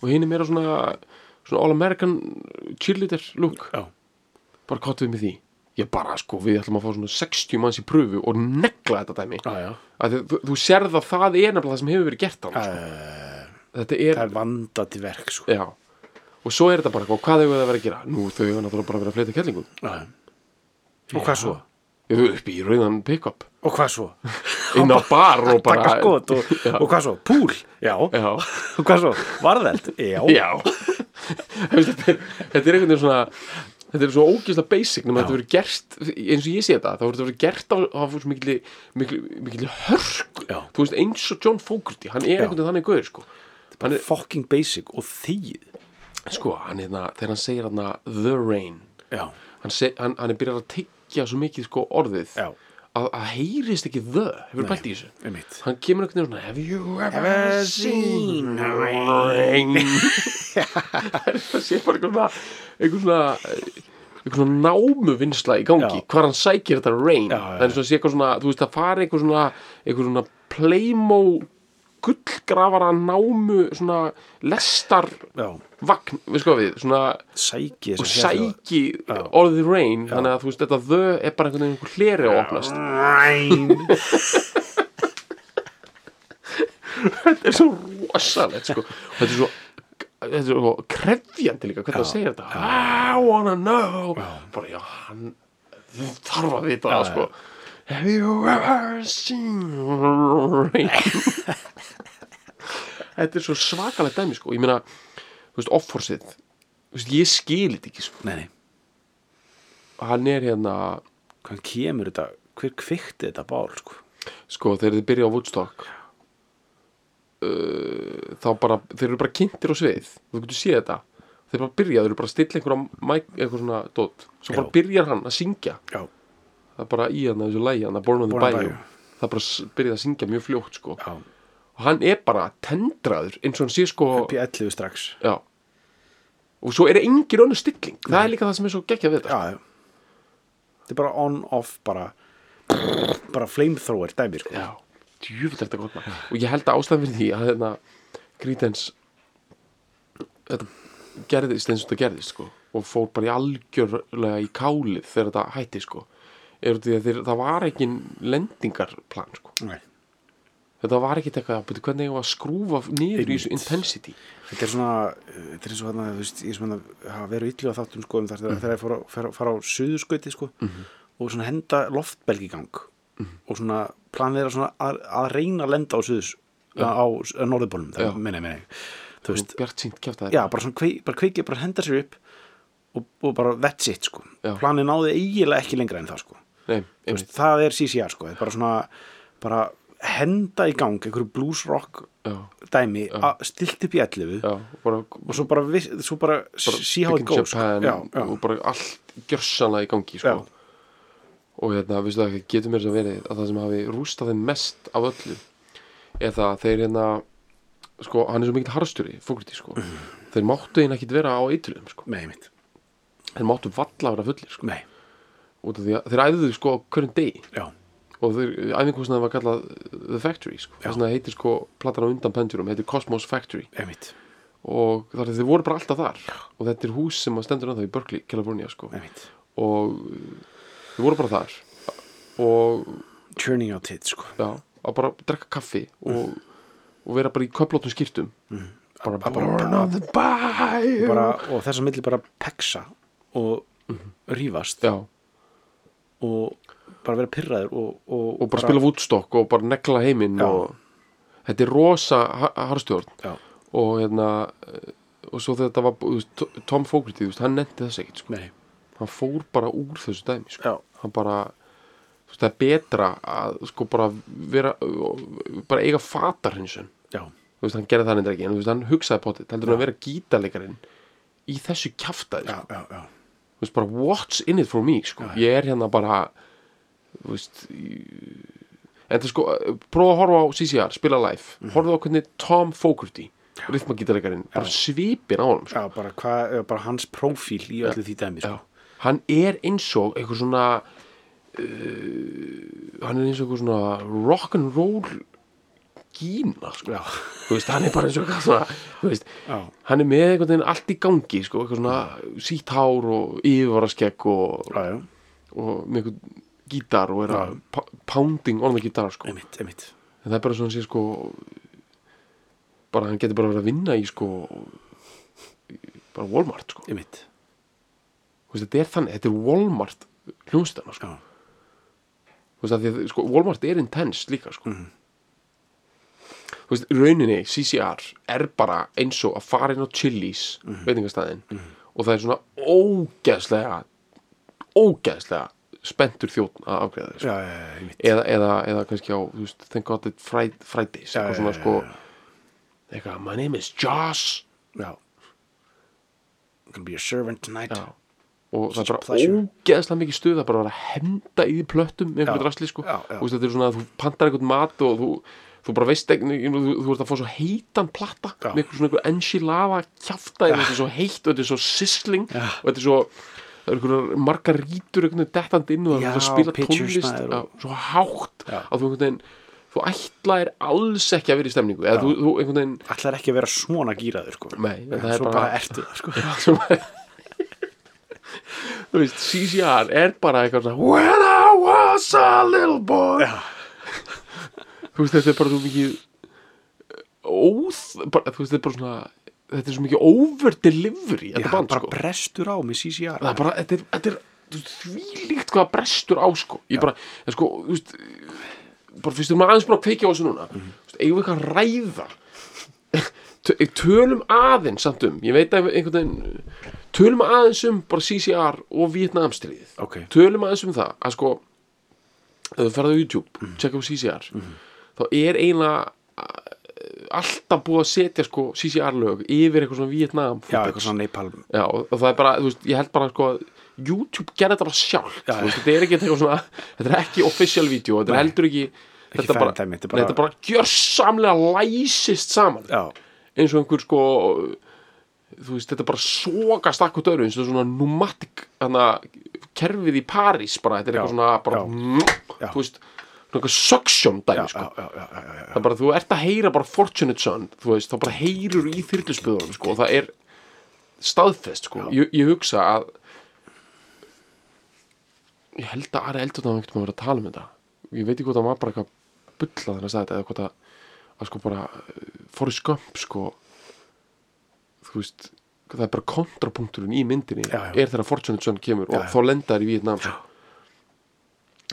S1: Og hinn er meira svona, svona all-American cheerleader look.
S2: já,
S1: Bara hvað við með því? Ég bara, sko, við ætlum að fá svona 60 manns í pröfu og negla þetta dæmi.
S2: já, já.
S1: Að þú, þú sérð að það er nefnilega það sem hefur verið gert hann sko. þetta er,
S2: Það er vanda til verk sko.
S1: já og svo er þetta bara, eitthvað, hvað hefur það verið að gera? nú þau hefur náttúrulega bara verið að fleita kellingum
S2: já. Og hvað svo?
S1: Ég þau upp í rauðan pick-up
S2: Og hvað svo?
S1: inn á bar og bara
S2: Takka skot og, og hvað svo? Púl? Já.
S1: já,
S2: Og hvað svo? Varðeld? Já.
S1: já. Veistu, þetta er þetta er einhvern veginn svona þetta er svo ógeðslega basic nema þetta verið gert, eins og ég sé þetta þá verið þetta verið gert á, á svo mikli, mikli, mikli hörku
S2: Já.
S1: þú veist eins og John Fogarty, hann er einhvern veginn þannig gauður sko. hann er,
S2: Fucking basic og þýð.
S1: sko, hann hérna, þegar hann segir hérna the rain
S2: já,
S1: hann, seg, hann, hann er byrjað að tekja svo mikið sko orðið
S2: já,
S1: að, að heyrist ekki the hefur
S2: Nei.
S1: bætt í þessu
S2: einmitt
S1: hann kemur einhvern veginn svona have you
S2: Ever
S1: ever
S2: seen
S1: seen
S2: a
S1: a rain það sé bara einhvern svona einhvern svona einhvern svona námuvinnsla í gangi
S2: Já.
S1: hvar hann sækir þetta rain
S2: Já, já,
S1: það er eins og að sé eitthvað svona þú veist að fara einhvern svona einhvern svona playmo gullgrafara námu svona lestar
S2: já,
S1: vagn, við sko við svona
S2: sæki hérna-
S1: og sæki orðið rain þannig að þú veist þetta the er bara einhvern veginn einhver hleri að opnast
S2: ræn
S1: þetta er svo rosalegt sko. þetta er svo þetta er svo krefjandi líka hvernig
S2: Já,
S1: það segir þetta I wanna know bara já, hann þarf að vita það sko Have you ever seen rain Þetta er svo svakalegt dæmi sko ég meina, þú veist, offorsið þú veist, ég skil þetta ekki sko
S2: nei, nei,
S1: hann er hérna,
S2: hvað kemur þetta hver kvikti þetta bál, sko
S1: sko, þegar þið byrja á Woodstock uh, þá bara, þeir eru bara kynntir á svið þú getur séð þetta þeir bara byrja, þeir eru bara að stilla einhverja mæk, einhver svona dót, svo bara
S2: Já.
S1: byrjar hann að syngja
S2: já,
S1: það er bara í hann þessu lægi hann, Born on the
S2: Born on the
S1: Bayou
S2: Bayou.
S1: það er bara s- byrjað að syngja mjög fljótt sko
S2: já,
S1: og hann er bara tendraður eins og hann sé sko
S2: P11 strax
S1: já og svo er engin önnur stilling, það er líka það sem er svo geggjað við þetta
S2: já, já þetta er bara on-off bara bara flamethrower dæmi, sko
S1: Já, djúvill er þetta gott maður Og ég held að ástæðan fyrir því að hérna Grítens Þetta hérna, gerðist eins og þetta gerðist sko Og fór bara í algjörlega í kálið Þegar þetta hætti sko Er því að þeir, það var ekki lendingarplan sko
S2: Nei.
S1: Þetta var ekki eitthvað að byrja hvernig ég var að skrúfa niður í þessu intensity
S2: þetta er svona uh, þetta er eins og hérna, þú veist, ég sem hérna hafa verið illu á þáttum sko um þar
S1: Mhm.
S2: þegar- þegar ég fór að fara, fara á suðurskauti sko og svona henda loftbelgigang mm
S1: Mhm.
S2: og svona plan þeirra svona að, að reyna að lenda á suðurs á, á norðbólum,
S1: Já. Mhm.
S2: það meina, meina ég. þú veist,
S1: Bjart sínt kjátt að
S2: já, bara svona kveik, bara kveikið, bara henda sér upp og, og bara that's it sko
S1: Já.
S2: planið náði eiginlega ekki lengra en það sko
S1: Nei,
S2: Þú
S1: einmitt,
S2: veist, það er CCR sko, þetta er bara svona bara henda í gang einhverju blues rock
S1: já,
S2: dæmi, að- stillt upp í 11
S1: já Bara,
S2: og svo bara, viss, svo bara, see how
S1: Big
S2: it
S1: in
S2: goes sko.
S1: Japan
S2: já, já,
S1: og bara allt gjörsanlega í gangi sko.
S2: Já.
S1: og hérna, veistu það ekki, getur mér þess að verið að það sem hafi rústað þeim mest af öllu er það að þeir hérna sko, hann er svo mikill harstjóri fókriti, sko, þeir máttu einn ekkit vera á eitulum, sko,
S2: nei mitt
S1: þeir máttu valla vera fullir, sko,
S2: nei,
S1: út af því að þeir æfðu sko á hverjum degi
S2: já,
S1: og þeir, æfingkostnaði var kallað The Factory, sko,
S2: Já.
S1: þess að það heitir sko platan á undan pendurum, heitir Cosmos Factory
S2: nei mitt
S1: og þar að þeir voru bara alltaf þar og þetta er hús sem að stendur annað í Berkeley, California, sko
S2: nei mitt,
S1: og uh, við vorum bara þar og
S2: churning out hits sko
S1: já, að bara drekka kaffi og, og vera bara í köflótum skýrtum bara, bara, Born on the bayou
S2: bara, og þess að milli bara peksa og
S1: Mhm.
S2: rífast
S1: já,
S2: og bara vera pyrraður og, og,
S1: og bara, spila Woodstock og bara negla heiminn
S2: Já.
S1: og þetta er rosa ha- harstjórn
S2: já,
S1: og hérna eh, og svo þegar þetta var, þú veist, To- Tom Fogarty, þú veist, hann nefndi þess ekkert, sko
S2: nei,
S1: hann fór bara úr þessu dæmi, sko
S2: já,
S1: hann bara þú veist, það er betra að sko bara vera bara eiga fatar
S2: já,
S1: þú veist, hann gerði það neitt ekki en þú veist, hann hugsaði potið, heldur hann að vera gítarleikarinn í þessu kjaftaði,
S2: já,
S1: sko.
S2: já, já.
S1: þú veist, bara what's in it for me, sko, ég er hérna bara þú veist í... en það sko, prófa að horfa á CCR, spila live, mm. horfa á hvernig Tom Fogarty, rithmagítarleikarinn bara svipir á honum, sko
S2: já, bara, hvað, já, bara hans prófíl í öllu því dæmi sko.
S1: Já. hann er eins og eitthvað svona uh, hann er eins og eitthvað svona rock'n'roll gína, sko
S2: já,
S1: þú veist, hann er bara eins og eitthvað svona þú veist,
S2: Já.
S1: hann er með einhvern veginn allt í gangi sko, eitthvað svona sítt hár og yfirvaraskegg og,
S2: já, já,
S1: og með einhvern gítar og er að
S2: Já.
S1: pa- pounding on the guitar sko. en
S2: einmitt, einmitt
S1: það er bara svona sé sko bara hann getur bara verið að vinna í sko bara Walmart sko.
S2: einmitt,
S1: Þú veist, þetta er þannig, þetta er Walmart hljónstæðna sko.
S2: já,
S1: Þú veist, af því að, sko, Walmart er intense líka sko. Þú veist, rauninni CCR er bara eins og að fara inn á Chili's veitingastæðin og það er svona ógeðslega ógeðslega spenntur þjóðn að afgreða þér sko.
S2: já, já, já, einmitt
S1: eða, eða, eða kannski á, þú veist, thank god it Friday, Fridays
S2: Já,
S1: eitthvað
S2: já,
S1: svona
S2: já,
S1: sko eitthvað, my name is Joss
S2: já gonna be a servant tonight
S1: Já. og það er bara
S2: Pleasure.
S1: ógeðslega mikið stuð það er bara að vera að henda í því plöttum með einhverju
S2: Já,
S1: drasli sko
S2: já, já.
S1: og þetta er svona að þú pantar einhvern mat og þú, þú bara veist ekki þú, þú, þú ert að fá svo heitan platta
S2: Já.
S1: með einhver svona einhver enchilada kjafta þetta er svo heitt og þetta er svo sissling
S2: Já.
S1: og þetta er svo það eru einhverjar margar rítur einhvern veginn dettandi inn og það er
S2: Já,
S1: að spila
S2: pitchers
S1: tónlist
S2: maður
S1: já,
S2: og-
S1: svo hátt
S2: Já.
S1: að þú einhvern veginn þú ætlaðir alls ekki að vera í stemningu eða þú, þú einhvern veginn
S2: Ætlar ekki að vera svona gýraður sko
S1: Nei, en það er
S2: Svo bara,
S1: bara-
S2: bara ertu það
S1: sem
S2: sko
S1: þú veist, CCR er bara eitthvað svona When I was a little boy
S2: Já.
S1: þú veist, þetta er bara svo mikið óð bara, þú veist, þetta er bara svona þetta er svo mikið over delivery
S2: Já,
S1: þetta band,
S2: bara
S1: sko
S2: brestur á með CCR
S1: það er bara, þetta er, þetta er þú veist, þvílíkt hvað brestur á, sko ég bara, en sko, þú veist bara fyrst erum aðeins búin að kveikja á þessu núna
S2: Mhm.
S1: mm. veist, eigum við eitthvað að ræða Tö- eh, tölum aðeins samt um, ég veit að einhvern veginn tölum aðeins um bara CCR og Vietnamstríðið
S2: Ok,
S1: tölum aðeins um það að sko ef þú ferðu á YouTube,
S2: Mhm.
S1: tjekka á CCR þá er eiginlega uh, alltaf búið að setja sko CCR lög yfir eitthvað svona Vietnam
S2: já,
S1: footage.
S2: eitthvað svona Nepal
S1: Já, og og það er bara, þú veist, ég held bara sko að YouTube gerði þetta bara sjálf
S2: Já,
S1: þú veist, þetta er ekki eitthvað svona, þetta er ekki official video, þetta er heldur ekki, þetta
S2: fan
S1: bara,
S2: dæmi, þetta
S1: nei,
S2: er bara-
S1: þetta bara gjörsamlega læsist saman
S2: Já,
S1: eins og einhver sko þú veist, þetta bara sogast akkur dörru eins og svona pneumatic hana, kerfið í París bara, þetta er
S2: Já,
S1: eitthvað svona bara, Mm,
S2: já. Já.
S1: þú veist svona eitthvað suction
S2: já,
S1: dæmi
S2: já,
S1: sko
S2: já, já, já, já, já.
S1: það er bara, þú ert að heyra bara Fortunate Son þú veist, þá bara heyrur í þyrluspöðunum sko, og það er staðfest sko. ég, ég hugsa að ég held að Ari Eldurna hafa ekkert maður verið að tala um þetta ég veit ekki hvort það var bara eitthvað bulla þannig að þetta eða hvort að, að sko bara fóri skömp sko þú veist það er bara kontrapunkturinn í myndinni
S2: Já, já.
S1: er þegar Fortunate Son kemur og
S2: já.
S1: þá lenda þær í Vietnam sko.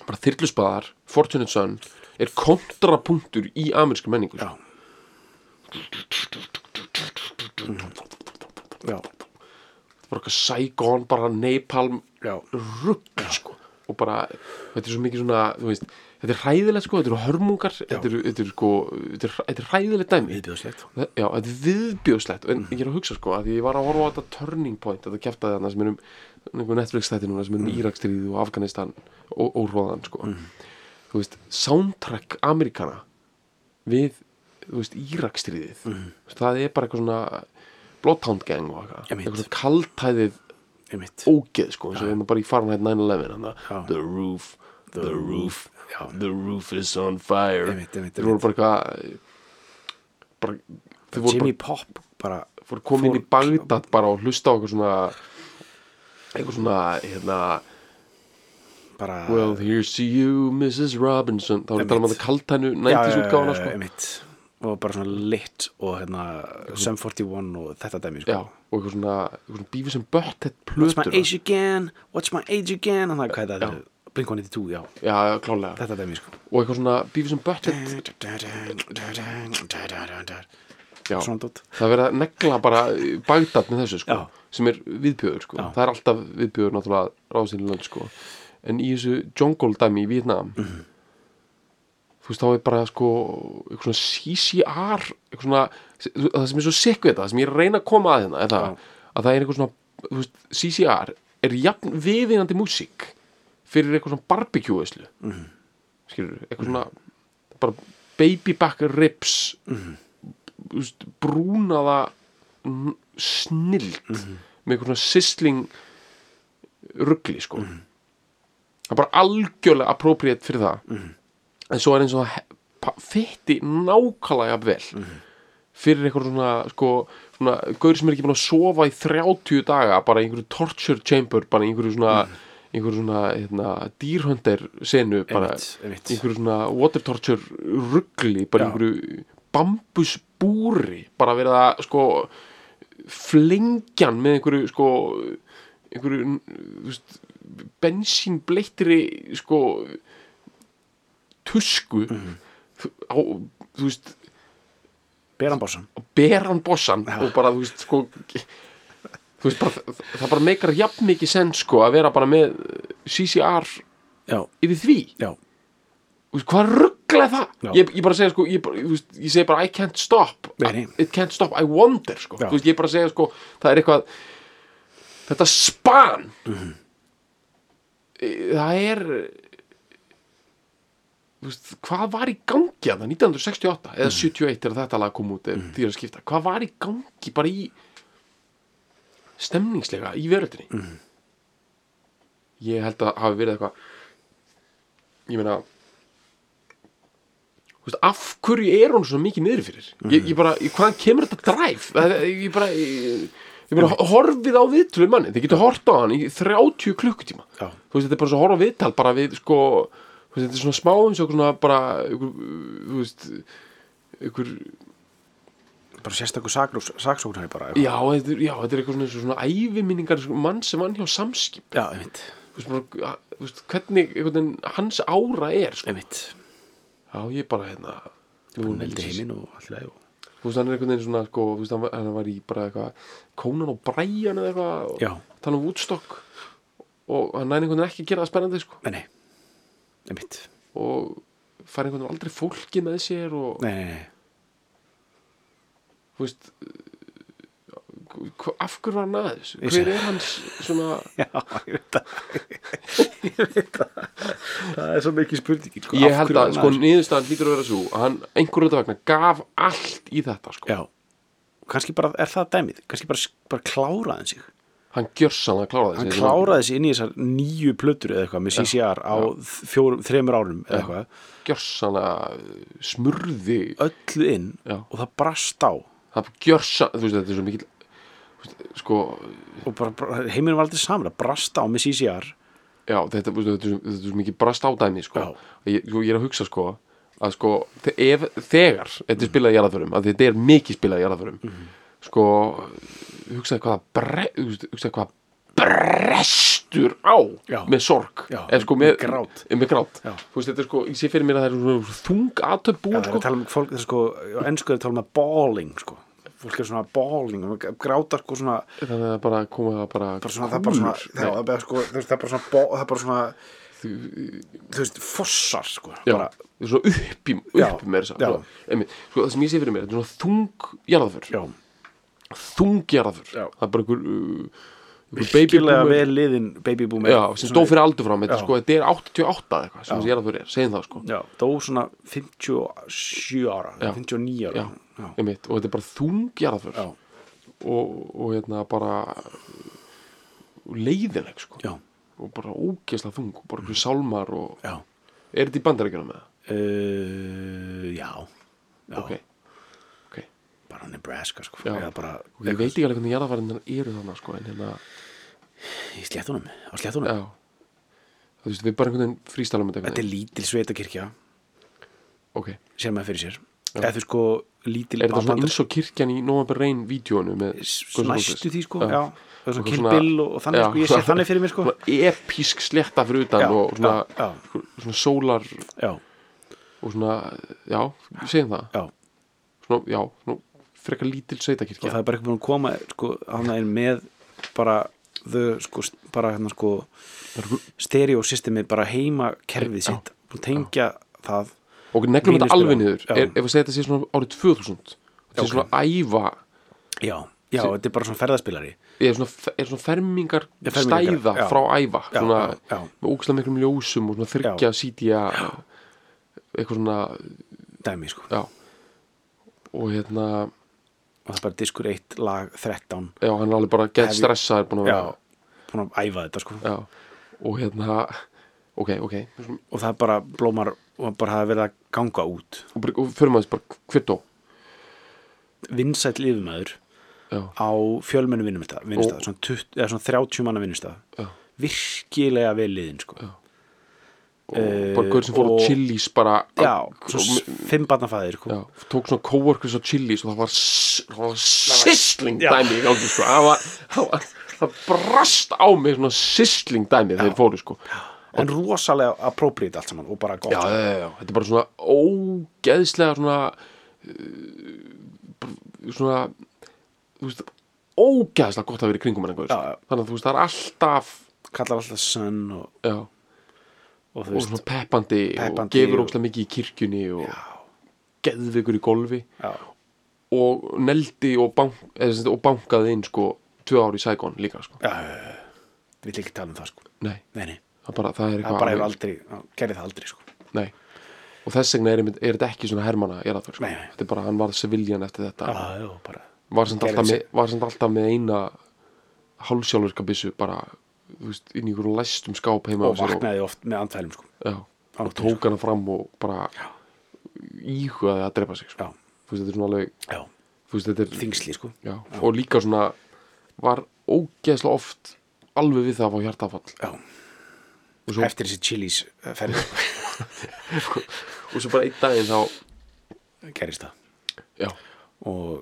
S1: bara þyrluspaðar Fortunate Son er kontrapunktur í amerísku menningu
S2: Já.
S1: sko.
S2: já,
S1: Það er bara eitthvað Saigon, bara Nepal
S2: já.
S1: rugg sko. og bara, þetta er svo mikið svona þú veist, þetta er hræðilegt sko, þetta eru hörmungar þetta eru, þetta eru sko, þetta er, þetta er hræðilegt dæmi
S2: Viðbjóðslegt
S1: Það- Já, þetta er viðbjóðslegt en ég er að hugsa sko að ég var að horfa á þetta turning point þetta kjæftaði þarna sem er um einhver Netflix þætti núna sem er um mm. Írakstríð og Afganistan og, og Róðan sko þú veist, soundtrack Amerikana við, þú veist, Írakstríðið mm. það er bara eitthvað svona Bloodhound Gang og eitthvað
S2: Einmitt.
S1: eitthvað svona kaltæðið
S2: Einmitt
S1: ógeð sko eins og hérna bara í Fahrenheit 9-11 hann
S2: Já.
S1: það, the roof, the, roof
S2: Já.
S1: the roof is on fire
S2: Einmitt, einmitt,
S1: þeir voru bara eitthvað bara, þeir voru
S2: Jimmy Pop bara
S1: bara fór komin inn í Bagdad bara og hlusta á eitthvað svona eitthvað svona hérna,
S2: bara
S1: well here's to you Mrs. Robinson þá erum við talað um
S2: Einmitt.
S1: að kaltænu
S2: Já,
S1: 90s
S2: já,
S1: útgáfana
S2: já,
S1: sko
S2: Einmitt og bara svona lit og hérna Sum 41 og þetta
S1: já,
S2: dæmi sko
S1: og eitthvað svona, eitthvað svona bífi sem bött hett
S2: What's my
S1: plötur
S2: age again, what's my age again hann það hvað er það,
S1: Já.
S2: Blink-182, já
S1: já, já, klálega
S2: þetta dæmi sko
S1: og eitthvað svona bífi sem bött hett já,
S2: svona dót
S1: það er verið að negla bara Bagdad með þessu sko,
S2: Já.
S1: sem er viðbjöður sko.
S2: Já.
S1: það er alltaf viðbjöður náttúrulega ráðsynlönd sko. en í þessu jungle dæmi í Vietnam
S2: Mhm.
S1: þú veist þá er bara sko eitthvað svona CCR eitthvað svona, það sem er svo sikk við þetta það sem ég er að reyna að koma að hérna er það, að það er eitthvað svona, þú veist, CCR er jafn viðinandi músík fyrir eitthvað svona barbecue-veislu
S2: Mhm.
S1: skilur, eitthvað svona bara baby back ribs þú veist, brúnaða n- snillt með eitthvað svona sisling ruggli sko það er bara algjörlega appropriate fyrir það
S2: Mhm.
S1: en svo er eins og það he- pa- fitti nákvæmlega jafn vel
S2: Mhm.
S1: fyrir eitthvað svona sko, svona, gaur sem er ekki búin að sofa í 30 daga, bara í einhverju torture chamber, bara í einhverju svona
S2: Mhm.
S1: einhverju svona, hérna, dýrhönder senu, bara
S2: Einmitt, einmitt.
S1: einhverju svona water torture ruggli, bara
S2: Já.
S1: einhverju bambusbúri, bara verið að sko flengjan með einhverju sko einhverju þú veist, bensínbleittri sko tusku á, þú veist
S2: Beran Bársson
S1: og ber hann bossan og bara þú veist sko þú veist bara það- það bara meikar jafn mikið senn sko að vera bara með CCR
S2: já,
S1: yfir því
S2: já,
S1: Þú veist, hvað ruggla það
S2: Já.
S1: ég, ég bara segja sko ég, bara, þú veist, ég segi bara I can't stop
S2: Nei, nei.
S1: it can't stop I wonder sko
S2: Já.
S1: Þú veist, ég bara segja sko það er eitthvað þetta span
S2: Mhm.
S1: e, það er þú veist, hvað var í gangi að það 1968
S2: Mhm.
S1: eða 71 þegar þetta lag kom út mm. því að skipta, hvað var í gangi bara í stemningslega í veröldinni ég held að hafi verið eitthvað ég meina þú veist, af hverju er hún svona mikið niður fyrir ég, ég bara, ég, hvaðan kemur þetta dræf ég bara ég, ég bara horfið á viðtölu manni, þið getur hort á hann í 30 klukkutíma
S2: Já.
S1: þú veist, þetta er bara svo horf á viðtal bara við sko, þú veist, þetta er svona smá eins og svona bara ykkur, þú veist ykkur,
S2: bara sérstakur saksóknari bara
S1: já, þetta, er- já, þetta er eitthvað svona, svona æviminningar sko, mann sem vann hjá samskip
S2: já einmitt,
S1: þú veist, bara, þú veist, hvernig einhvern veginn hans ára er sko.
S2: einmitt.
S1: já, ég bara hérna
S2: hún veldi heiminn og allir aðeins
S1: þú veist, hann er einhvern veginn svona sko, þú veist, hann, var- hann var í bara eitthvað Conan og Brian eða eitthvað og
S2: Já.
S1: tala um Woodstock og hann næði einhvern veginn ekki að gera það spennandi sko,
S2: nei, nei, einmitt
S1: og fær einhvern veginn aldrei fólki með sér og
S2: nei, nei, nei,
S1: þú veist eh, hva- af hverju var hann að þessu
S2: Ég
S1: hver
S2: sé.
S1: er hans svona
S2: já, ég veit það ég veit það það er svo mikið spurning sko,
S1: ég
S2: af
S1: held
S2: hverju
S1: að
S2: hann
S1: sko
S2: aðeins-
S1: niðurstaðan lítur að vera svo að hann einhverju þetta vegna gaf allt í þetta sko
S2: já, kannski bara, er það dæmið kannski bara, bara kláraði sig
S1: hann gjörsanlega kláraði
S2: hann
S1: sig
S2: kláraði sig inn í þessar nýju plötur eða eitthvað með CCR á fjórum, þremur árum eða eitthvað,
S1: gjörsanlega eh, smurði
S2: öllu inn
S1: Já.
S2: og það brast á og
S1: það gjörsanlega, þú veist þetta er svo mikill þú veist, sko
S2: bara, bara heiminn var aldrei saman, það brast á með CCR
S1: Já, þetta, veistu, þetta, er svo- þetta er svo mikið brast á dæmi sko.
S2: Já.
S1: ég, sko, ég er að hugsa sko að sko, þe- ef, þegar þetta er spilað í jarðaförum, að þetta er mikið spilað í jarðaförum
S2: Mhm.
S1: sko hugsaði hvaða bre, hugsaði hvaða brestur á
S2: Já.
S1: með sorg
S2: Já,
S1: Eða, sko,
S2: með
S1: með,
S2: grát.
S1: með grát.
S2: Já.
S1: Þú Veist, þetta er sko, ég sé fyrir mér að það er svona þung aðtöp
S2: Já,
S1: búin
S2: það er
S1: sko.
S2: að tala um fólk, það er sko, á ennsku er að tala um að balling, sko. Fólk er svona balling, og grátar sko svona,
S1: þannig að bara koma það bara,
S2: bara svona, það er bara svona, já, það er bara sko, þú veist, það er bara svona, bo- það er bara svona, þú veist, fossar, sko.
S1: já,
S2: Bara,
S1: þetta er svona upp í,
S2: Já,
S1: upp í mér
S2: já.
S1: sko, það sem ég sé fyrir mér, þetta er svona þung jarðaför
S2: já,
S1: þungjaraður
S2: Já.
S1: það er bara einhver, uh, einhver
S2: virkilega
S1: babyboomer-
S2: vel liðin baby boomer.
S1: já, sem dó fyrir aldur fram þetta,
S2: Já.
S1: sko, þetta er 88 eitthvað sem þessi jarðaför er, segjum það sko
S2: Já, dó svona 57 ára,
S1: Já.
S2: 59
S1: já,
S2: ára. Já,
S1: einmitt, og þetta er bara þungjaraður
S2: já,
S1: og, og hérna bara uh, leiðileg sko
S2: já, Mm.
S1: og bara ógeðslega þung og bara einhver sálmar og
S2: já,
S1: er þetta í bandaríkjunum með það?
S2: uh, já, já,
S1: ok, ok
S2: bara Nebraska, sko.
S1: Já.
S2: Eða bara,
S1: Og ég veit ekki alveg hvernig jarðafærinnar eru þannig sko, en hérna,
S2: í sléttunum, á sléttunum.
S1: já þú veist, við bara einhvern veginn frístalum þetta
S2: Þetta
S1: einhvern
S2: er lítil sveitakirkja.
S1: veginn. ok,
S2: sér maður fyrir sér eða þú sko lítil
S1: er þetta svona
S2: bandar-
S1: eins og kirkjan í November Rain vídjónu með
S2: næstu því sko
S1: Já.
S2: já. það er svona
S1: Eitthvað
S2: killbill og, og þannig
S1: já,
S2: sko ég sé þannig fyrir mér sko
S1: svona episk sletta fyrir utan
S2: Já,
S1: og svona,
S2: já,
S1: svona sólar
S2: já,
S1: og svona, já, við segjum það
S2: já.
S1: svona, já, svona, frekar lítil
S2: og
S1: sveitakirkja
S2: það er bara eitthvað búin að koma sko hann er með bara þau sko st- bara hérna sko stereosystemi bara heima kerfið sitt búin að tengja það
S1: og neglum þetta
S2: Mínus
S1: alveg
S2: byrja.
S1: niður
S2: Já.
S1: er, ef að segja þetta sé svona árið 2000 þetta er
S2: ok.
S1: svona æva
S2: já, já, þetta er bara svona ferðaspilari
S1: er svona, er svona fermingar,
S2: Já, fermingar,
S1: stæða
S2: já.
S1: frá æva
S2: Já,
S1: svona,
S2: já, já.
S1: með ógislega miklum ljósum og svona þryggja sítja eitthvað svona,
S2: dæmi sko
S1: já og hérna,
S2: og það er bara diskur 1 lag 13
S1: já, hann er alveg bara
S2: Hef
S1: gett
S2: ég-
S1: stressaður búin að
S2: já,
S1: vera
S2: búin að æfa þetta sko
S1: Já, og hérna ok, ok,
S2: og það er bara blómar og bara hafa verið að ganga út
S1: og, bara- og fyrir maður bara hver dó
S2: vinsæll yfirmaður
S1: Já.
S2: á fjölmennu vinnumstað, vinnustað,
S1: Og-
S2: svona, 20, eða svona 30 manna vinnustað,
S1: Já.
S2: virkilega vel liðin sko. já,
S1: og
S2: Eh,
S1: bara gaur sem fór
S2: og-
S1: á Chili's bara
S2: svo s- fimm barnafæðir sko.
S1: já, tók svona coworkers á Chili's og það var, s- það var sissling
S2: já.
S1: dæmi í gangi sko það var, það var það brast á mig svona sissling dæmi þegar þeir fóru sko
S2: en rosalega appropriate allt saman og bara gott
S1: já, já, já, já, þetta er bara svona ógeðslega svona uh, svona þú veist ógeðslega gott að vera í kringum hann einhver
S2: Já, já.
S1: sko. þannig að þú veist það er alltaf
S2: kallar alltaf sun og,
S1: já
S2: og þú
S1: og
S2: veist
S1: svona peppandi, og
S2: Peppandi
S1: gefur
S2: og-
S1: ógstlega mikið í kirkjunni og geðveikur í golfi
S2: já,
S1: og neldi og, bank, eða sem sagt, og bankaði inn sko tvö ár í Saigon líka sko.
S2: já, já, já, já. við ekki tala um það sko
S1: nei,
S2: nei, nei,
S1: það bara, það er
S2: það
S1: eitthvað
S2: bara hefur
S1: annað.
S2: aldrei, það gerði það aldrei sko
S1: Nei, og þess vegna er, einmitt- er þetta ekki svona hermana eraðför, sko.
S2: Nei, nei.
S1: þetta er bara að hann varð Seviljan eftir þetta
S2: já, já, bara
S1: var samt
S2: Gerði
S1: alltaf, með,
S2: sig.
S1: var samt alltaf með eina hálfsjálfurka byssu bara, þú veist, inn í einhverjum læstum skáp heima á
S2: og
S1: sér og,
S2: vaknaði oft með andfælum sko
S1: já,
S2: á
S1: og
S2: nóttinni,
S1: tók hana fram og bara íhugaði að drepa sig sko.
S2: já,
S1: þú veist, þetta er svona alveg
S2: já,
S1: þú veist, þetta er,
S2: þingsli sko
S1: já, og líka svona var ógeðslega oft alveg við það að fá hjartafall
S2: já,
S1: og svo,
S2: eftir þessi chilies eh, ferð sko,
S1: og svo bara einn daginn þá,
S2: gerist það
S1: já,
S2: og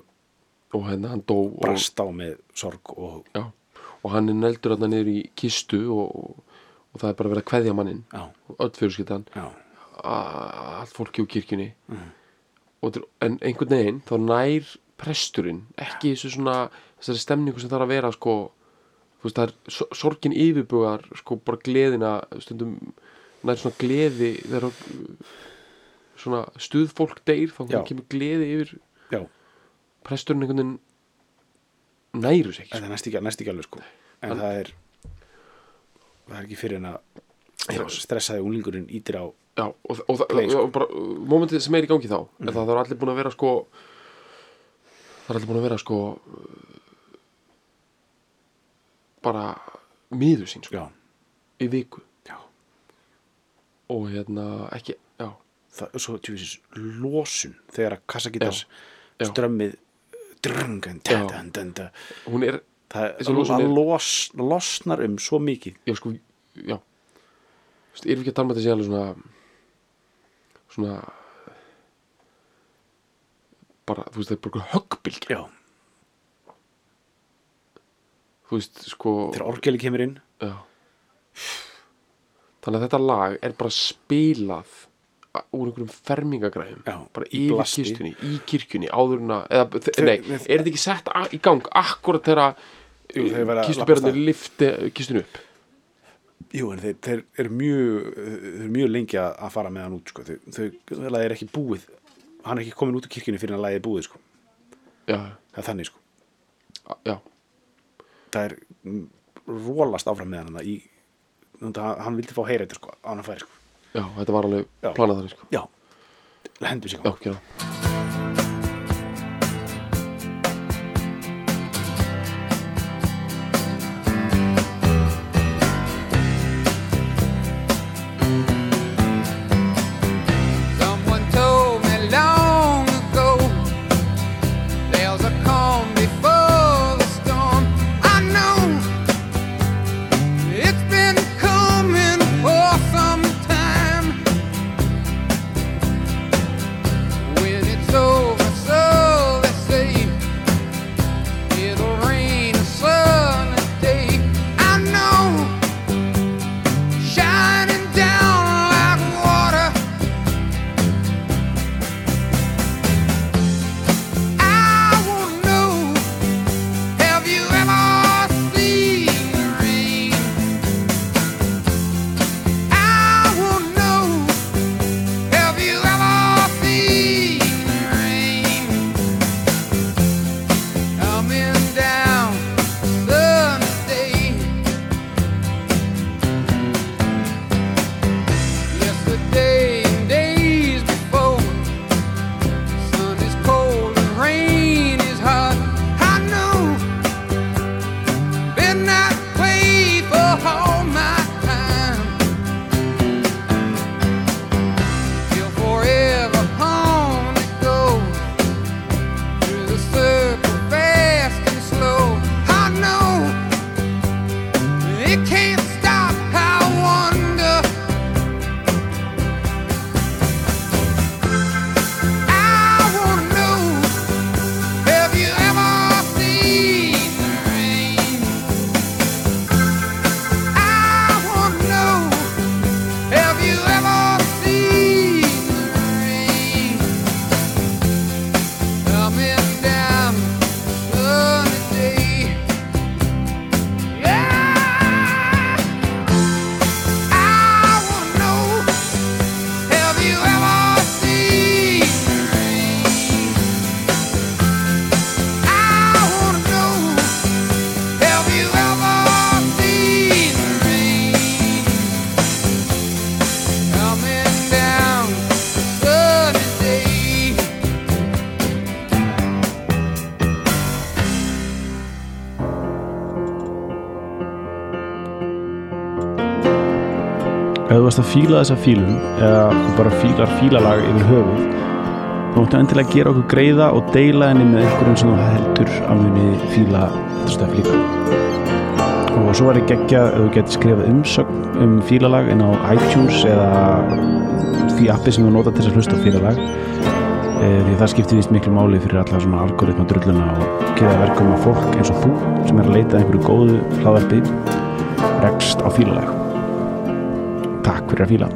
S1: og hérna hann dó og-
S2: brast á með sorg og
S1: Já, og hann er neldur hann niður í kistu og, og, og það er bara verið að kveðja mannin
S2: já,
S1: og öll fyrirskiptan,
S2: já,
S1: a- allt fólki úr kirkjunni og þetta er- en einhvern veginn þá nær presturinn ekki þessu svona, þessari stemningu sem þarf að vera sko, þú veist það er so- sorgin yfirbugar sko bara gleðina stundum nær svona gleði þegar uh, svona stuðfólk deyr þá
S2: Já.
S1: kemur gleði yfir
S2: já
S1: presturinn einhvern veginn nærur sér ekki
S2: það er næst ekki, næst ekki alveg sko en
S1: Hann-
S2: það er það er ekki fyrir en
S1: Já.
S2: að stressaði unglingurinn ítir á
S1: Já, og, og, og,
S2: Play, sko. Mhm.
S1: og bara, uh, momentið sem er í gangi þá er það, það er allir búin að vera sko það er allir búin að vera sko uh, bara miður sín sko,
S2: já,
S1: í viku
S2: já
S1: og hérna ekki, já,
S2: það, og svo tjóðisins losun þegar að kassagítars
S1: Já.
S2: strömmið drungan
S1: Já.
S2: það
S1: hún er Þessi losun
S2: það
S1: er-
S2: los, losnar um svo mikið
S1: já sko, já Þú veist, erum við ekki að tala með þessi alveg svona svona bara, þú veist, það er bara höggbylgja
S2: já,
S1: þú veist, sko
S2: þegar orgeli kemur inn
S1: Já. Þannig að þetta lag er bara spilað a- úr einhverjum fermingagræðum
S2: Já,
S1: bara
S2: í
S1: yfir
S2: blasti.
S1: kistunni, í kirkjunni áður en að, eða, þe-
S2: Þau-
S1: nei,
S2: við-
S1: er þetta ekki sett a- í gang akkurat þegar
S2: Jú, þau verða að
S1: kistubjörnir
S2: labba
S1: lifti kistun eh, upp
S2: jú, en þeir, þeir eru mjög þeir eru mjög lengi að að fara með hann út sko. þau, þau, það er ekki búið hann er ekki komin út úr kirkjunni fyrir að lagið er búið sko.
S1: Já,
S2: það er þannig sko
S1: a- já,
S2: það er mm, rólast áfram með hann þarna í, þannig að hann vildi fá að heyra þetta sko, á hann að færi sko
S1: já, þetta var alveg
S2: Já.
S1: planað þannig sko
S2: já, hendur sig á
S1: Já, gera það.
S3: Someone told me long ago There's a calm before the storm I know It's been coming for some time When it
S4: ef þú varst að fíla þessa fílum eða þú bara fílar fílalag yfir höfuð þá máttu endilega gera okkur greiða og deila henni með einhverjum sem þú heldur að muni fíla þetta stöf líka og svo var ég geggja ef þú getur skrifað umsögn um fílalag inn á iTunes eða því appi sem þú nota til þess að hlusta á fílalag Eh, því að það skiptir nýst miklu máli fyrir alla svona algoritma drulluna og geða verkum að fólk eins og þú sem er að leita að einhverju góðu hlaðarpi rekst á fílalag Takk fyrir að fíla